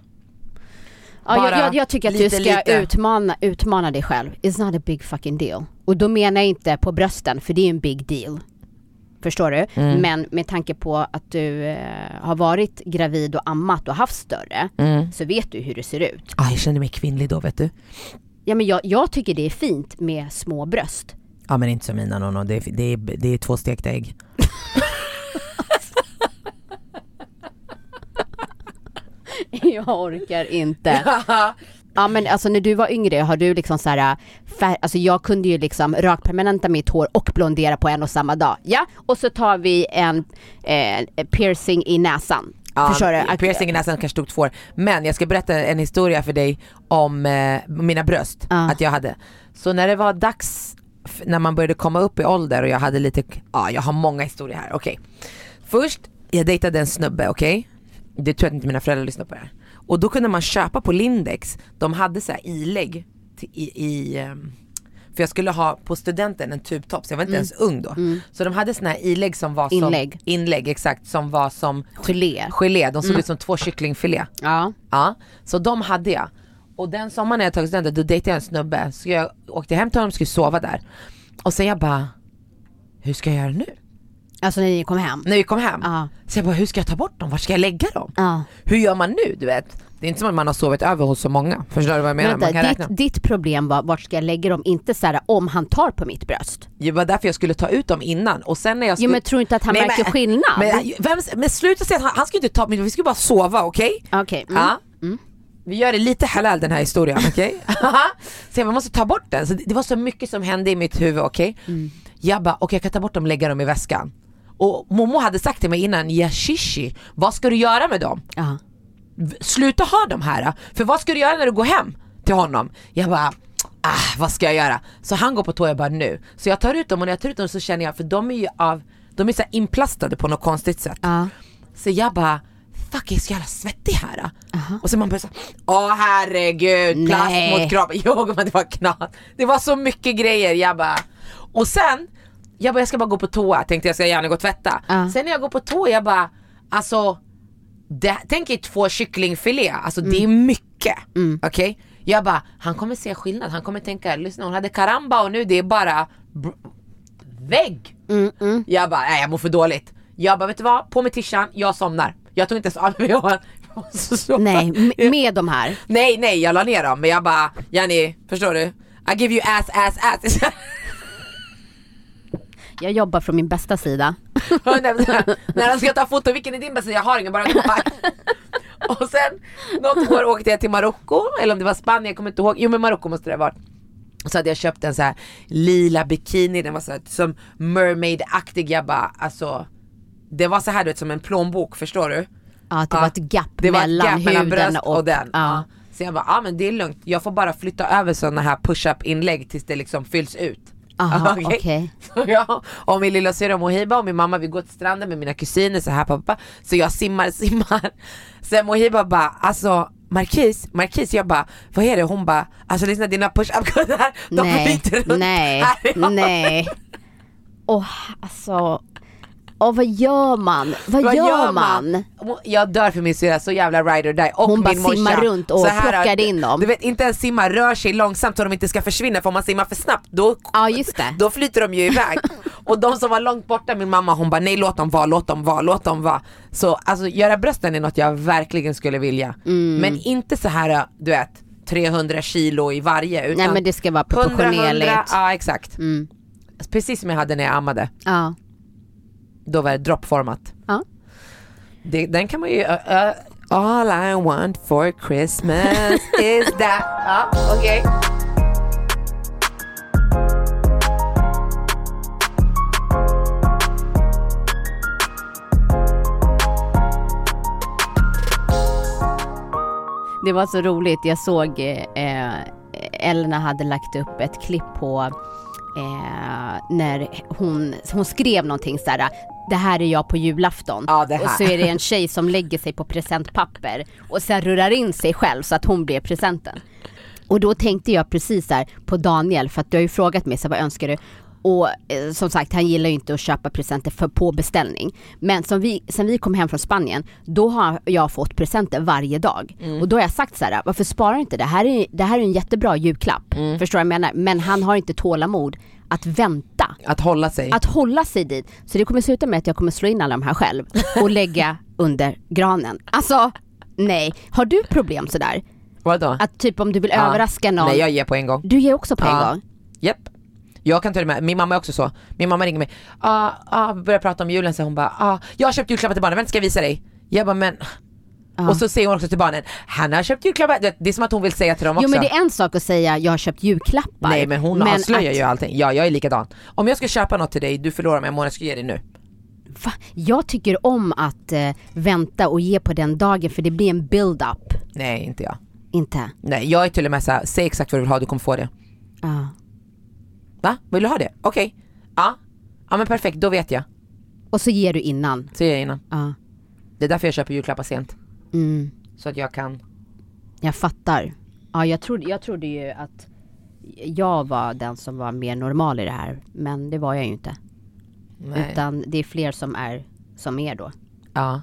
Speaker 2: Ja,
Speaker 1: Bara
Speaker 2: jag, jag, jag tycker att
Speaker 1: lite,
Speaker 2: du ska
Speaker 1: lite.
Speaker 2: utmana, utmana dig själv. It's not a big fucking deal. Och då menar jag inte på brösten, för det är ju en big deal. Förstår du?
Speaker 1: Mm.
Speaker 2: Men med tanke på att du eh, har varit gravid och ammat och haft större, så vet du hur det ser ut.
Speaker 1: Ah, jag kände mig kvinnlig då vet du.
Speaker 2: Ja, men jag, jag tycker det är fint med små bröst.
Speaker 1: Ja men inte som mina Nono, det är, det är, det är två stekta ägg.
Speaker 2: jag orkar inte. Ja men alltså när du var yngre, har du liksom så här, fär- alltså jag kunde ju liksom rakpermanenta mitt hår och blondera på en och samma dag. Ja, och så tar vi en eh, piercing i näsan. Förstår du? Att-
Speaker 1: Piercing i näsan kanske tog två år. Men jag ska berätta en historia för dig om eh, mina bröst,
Speaker 2: Ja.
Speaker 1: att jag hade. Så när det var dags, f- när man började komma upp i ålder och jag hade lite, ja jag har många historier här, okej. Först, jag dejtade en snubbe, okej? Det tror jag inte mina föräldrar lyssnar på det här. Och då kunde man köpa på Lindex, de hade så här ilägg till, i, i ehm, för jag skulle ha på studenten en tubtops, jag var inte ens ung då. Så de hade såna här ilägg som var
Speaker 2: Mm. Inlägg.
Speaker 1: som, inlägg exakt, som var som
Speaker 2: Gelé.
Speaker 1: gelé, de såg
Speaker 2: Mm.
Speaker 1: ut som två kycklingfilé.
Speaker 2: Ja.
Speaker 1: Ja, så de hade jag. Och den sommaren när jag tog studenten, då dejtade jag en snubbe. Så jag åkte hem till honom och skulle sova där. Och sen jag bara, hur ska jag göra nu?
Speaker 2: Alltså när ni kom hem.
Speaker 1: När vi kom hem.
Speaker 2: Ja.
Speaker 1: Så jag bara, hur ska jag ta bort dem? Var ska jag lägga dem?
Speaker 2: Ja.
Speaker 1: Hur gör man nu? Du vet? Det är inte som att man har sovit över hos så många. Förstår du vad jag menar? man
Speaker 2: Vänta,
Speaker 1: kan
Speaker 2: ditt,
Speaker 1: räkna.
Speaker 2: ditt problem var vart ska jag lägga dem? Inte så här om han tar på mitt bröst.
Speaker 1: Det var därför jag skulle ta ut dem innan. Och sen när jag skulle...
Speaker 2: men tror inte att han märker skillnad?
Speaker 1: Men, vem, men sluta säga att han, han ska ju inte ta mig, vi ska ju bara sova, okej?
Speaker 2: Okej, mm.
Speaker 1: Ja. Vi gör det lite halal den här historien, okej? så jag bara, måste ta bort den. Så det, det var så mycket som hände i mitt huvud, okej?
Speaker 2: Mm.
Speaker 1: Jag bara, okej jag kan ta bort dem, lägga dem i väskan. Och Momo hade sagt till mig innan, Yashishi, vad ska du göra med dem?
Speaker 2: Ja.
Speaker 1: sluta ha de här. För vad ska du göra när du går hem till honom? Jag bara, ah, vad ska jag göra? Så han går på toa, jag bara nu. Så jag tar ut dem och när jag tar ut dem så känner jag, för de är ju av, de är så här inplastade på något konstigt sätt.
Speaker 2: Ja.
Speaker 1: Så jag bara, fuck jag är så jävla svettig här. Och så man börjar såhär, åh herregud, plast
Speaker 2: Nej.
Speaker 1: mot kroppen. Jo men det var knas. Det var så mycket grejer, jag bara. Och sen, jag bara jag ska bara gå på toa, tänkte jag ska gärna gå och tvätta.
Speaker 2: Ja.
Speaker 1: Sen när jag går på toa, jag bara, alltså det, tänk er två kycklingfilé, alltså det är mycket. Okej? Jag bara, han kommer se skillnad, han kommer tänka, lyssna hon hade karamba och nu det är bara br- vägg. Jag bara, nej jag mår för dåligt. Jag bara, vet du vad? På med tishan, jag somnar. Jag tog inte ens av mig jag måste sova.
Speaker 2: Nej, m- med de här.
Speaker 1: nej, nej, jag la ner dem men jag bara, Jenny, förstår du? I give you ass, ass, ass.
Speaker 2: Jag jobbar från min bästa sida.
Speaker 1: Hon nämnde här, när han ska ta foto, vilken är din bästa? Jag har ingen, bara koppar. Och sen något år åkte jag till Marocko, eller om det var Spanien, jag kommer inte ihåg. Jo men Marocko måste det ha varit. Så hade jag köpt en så här lila bikini, den var så här, som mermaid-aktig. Jag bara alltså, det var så här du vet som en plånbok förstår du?
Speaker 2: Ja, att det var ett gapp
Speaker 1: det var ett
Speaker 2: mellan
Speaker 1: gap mellan
Speaker 2: huden
Speaker 1: bröst och,
Speaker 2: och-
Speaker 1: den.
Speaker 2: ja.
Speaker 1: Ja. Så jag bara, ja ah, men det är lugnt, jag får bara flytta över sådana här push-up inlägg tills det liksom fylls ut.
Speaker 2: Aha,
Speaker 1: Okej.
Speaker 2: okej.
Speaker 1: Så jag och min lilla syrra Mohiba och min mamma vi går till stranden med mina kusiner så här pappa. Så jag simmar, simmar. Sen Mohiba bara alltså Markis, Markis jag bara vad är det? Hon bara alltså lyssna dina push-up kuddar de
Speaker 2: nej,
Speaker 1: flyter runt
Speaker 2: nej,
Speaker 1: här." Jag bara,
Speaker 2: nej. Åh, alltså. Åh, vad gör man? Vad, gör, man?
Speaker 1: Jag dör för min syrra, så jävla ride or die. Och
Speaker 2: Hon
Speaker 1: min
Speaker 2: bara
Speaker 1: morsa.
Speaker 2: simmar runt och
Speaker 1: Så här,
Speaker 2: plockar in dem.
Speaker 1: Du vet inte ens simma, rör sig långsamt så de inte ska försvinna för om man simmar för snabbt då,
Speaker 2: Ja, just det.
Speaker 1: då flyter de ju iväg. och de som var långt borta, min mamma hon bara nej låt dem vara, låt dem vara, låt dem vara. Så alltså göra brösten är något jag verkligen skulle vilja.
Speaker 2: Mm.
Speaker 1: Men inte så här du vet 300 kilo i varje utan
Speaker 2: Nej, men det ska vara
Speaker 1: 100, 100,
Speaker 2: proportionerligt.
Speaker 1: ja exakt. Precis som jag hade när jag ammade,
Speaker 2: Mm, Ja.
Speaker 1: då var det droppformat.
Speaker 2: ja.
Speaker 1: Det, den kan man ju... ö- ö- all I want for Christmas is that... Ja, okej.
Speaker 2: Det var så roligt, jag såg eh, Elna hade lagt upp ett klipp på eh, när hon, hon skrev någonting så här. Det här är jag på julafton.
Speaker 1: Ja, det här.
Speaker 2: Och så är det en tjej som lägger sig på presentpapper och sen rullar in sig själv så att hon blir presenten. Och då tänkte jag precis där på Daniel, för att du har ju frågat mig så här, vad önskar du? Och eh, som sagt, han gillar ju inte att köpa presenter för på beställning. Men som vi, sen vi kom hem från Spanien, då har jag fått presenter varje dag.
Speaker 1: Mm.
Speaker 2: Och då har jag sagt så här, varför sparar du inte? Det här är, det här är en jättebra julklapp.
Speaker 1: Mm.
Speaker 2: Förstår du vad jag menar? Men han har inte tålamod att vänta.
Speaker 1: Att hålla sig.
Speaker 2: Att hålla sig dit. Så det kommer sluta med att jag kommer slå in alla de här själv och lägga under granen. Alltså, nej. Har du problem sådär?
Speaker 1: Vadå?
Speaker 2: Att typ om du vill
Speaker 1: Ja.
Speaker 2: överraska någon.
Speaker 1: Nej, jag ger på en gång.
Speaker 2: Du ger också på en
Speaker 1: Ja.
Speaker 2: gång?
Speaker 1: Japp. Jag kan ta det med, min mamma är också så. Min mamma ringer mig, ah, ah, vi börjar prata om julen så hon bara, ah, jag har köpt julklappar till barnen, vänta ska jag visa dig? Jag bara men, och så säger hon också till barnen, han har köpt julklappar, det, det är som att hon vill säga till dem också.
Speaker 2: Jo men det är en sak att säga jag har köpt julklappar.
Speaker 1: Nej men hon avslöjar
Speaker 2: att-
Speaker 1: ju allting, ja jag är likadan. Om jag ska köpa något till dig, du förlorar mig en månad, jag ska ge dig nu.
Speaker 2: Va? Jag tycker om att eh, vänta och ge på den dagen för det blir en build-up.
Speaker 1: Nej, inte jag.
Speaker 2: Inte?
Speaker 1: Nej, jag är till och med såhär, säg exakt vad du vill ha, du kommer få det.
Speaker 2: Ja.
Speaker 1: Va? Vill du ha det? Okej. Ja. Ja men perfekt, då vet jag.
Speaker 2: Och så ger du innan.
Speaker 1: Säger jag innan.
Speaker 2: Ja.
Speaker 1: Det är därför jag köper julklappar sent.
Speaker 2: Mm.
Speaker 1: Så att jag kan.
Speaker 2: Jag fattar. Ja, jag trodde, jag trodde ju att jag var den som var mer normal i det här. Men det var jag ju inte.
Speaker 1: Nej.
Speaker 2: Utan det är fler som är som er då.
Speaker 1: Ja.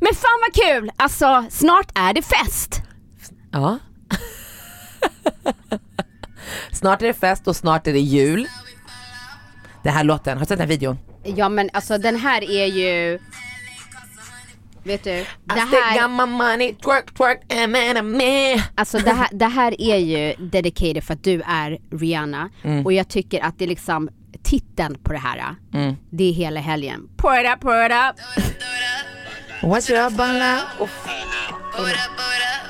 Speaker 2: Men fan vad kul! Alltså snart är det fest!
Speaker 1: Ja. snart är det fest och snart är det jul. Den här låten, har du sett den här videon?
Speaker 2: Ja men alltså den här är ju... Vet du? Det
Speaker 1: I still
Speaker 2: här,
Speaker 1: got my money, twerk twerk, and man, and man.
Speaker 2: alltså det, här, det här är ju dedicated för att du är Rihanna. Och jag tycker att det är liksom titeln på det här. Det är hela helgen. Pour it up, pour it up.
Speaker 1: What's your bala?
Speaker 3: Boot up, boot up.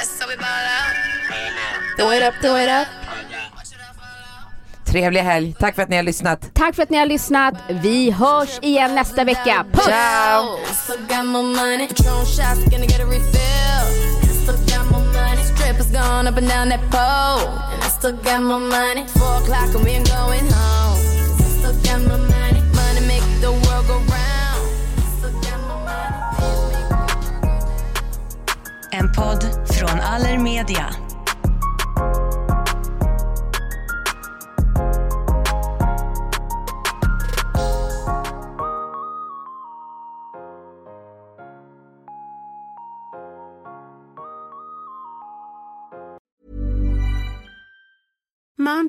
Speaker 3: That's how we ball out.
Speaker 1: Do it up, do it up. Trevlig helg, tack för att ni har lyssnat.
Speaker 2: Tack för att ni har lyssnat. Vi hörs igen nästa vecka. Puss!
Speaker 1: Ciao!
Speaker 3: Still got my money. Drone shots, gonna get a refill. And I still got my money. Strippers going up and down that pole. And I still got my money. Four o'clock and we ain't going home. 'Cause I still got my money. Money make the world go round. I still got my money.
Speaker 4: En podd från Allermedia.
Speaker 5: Mom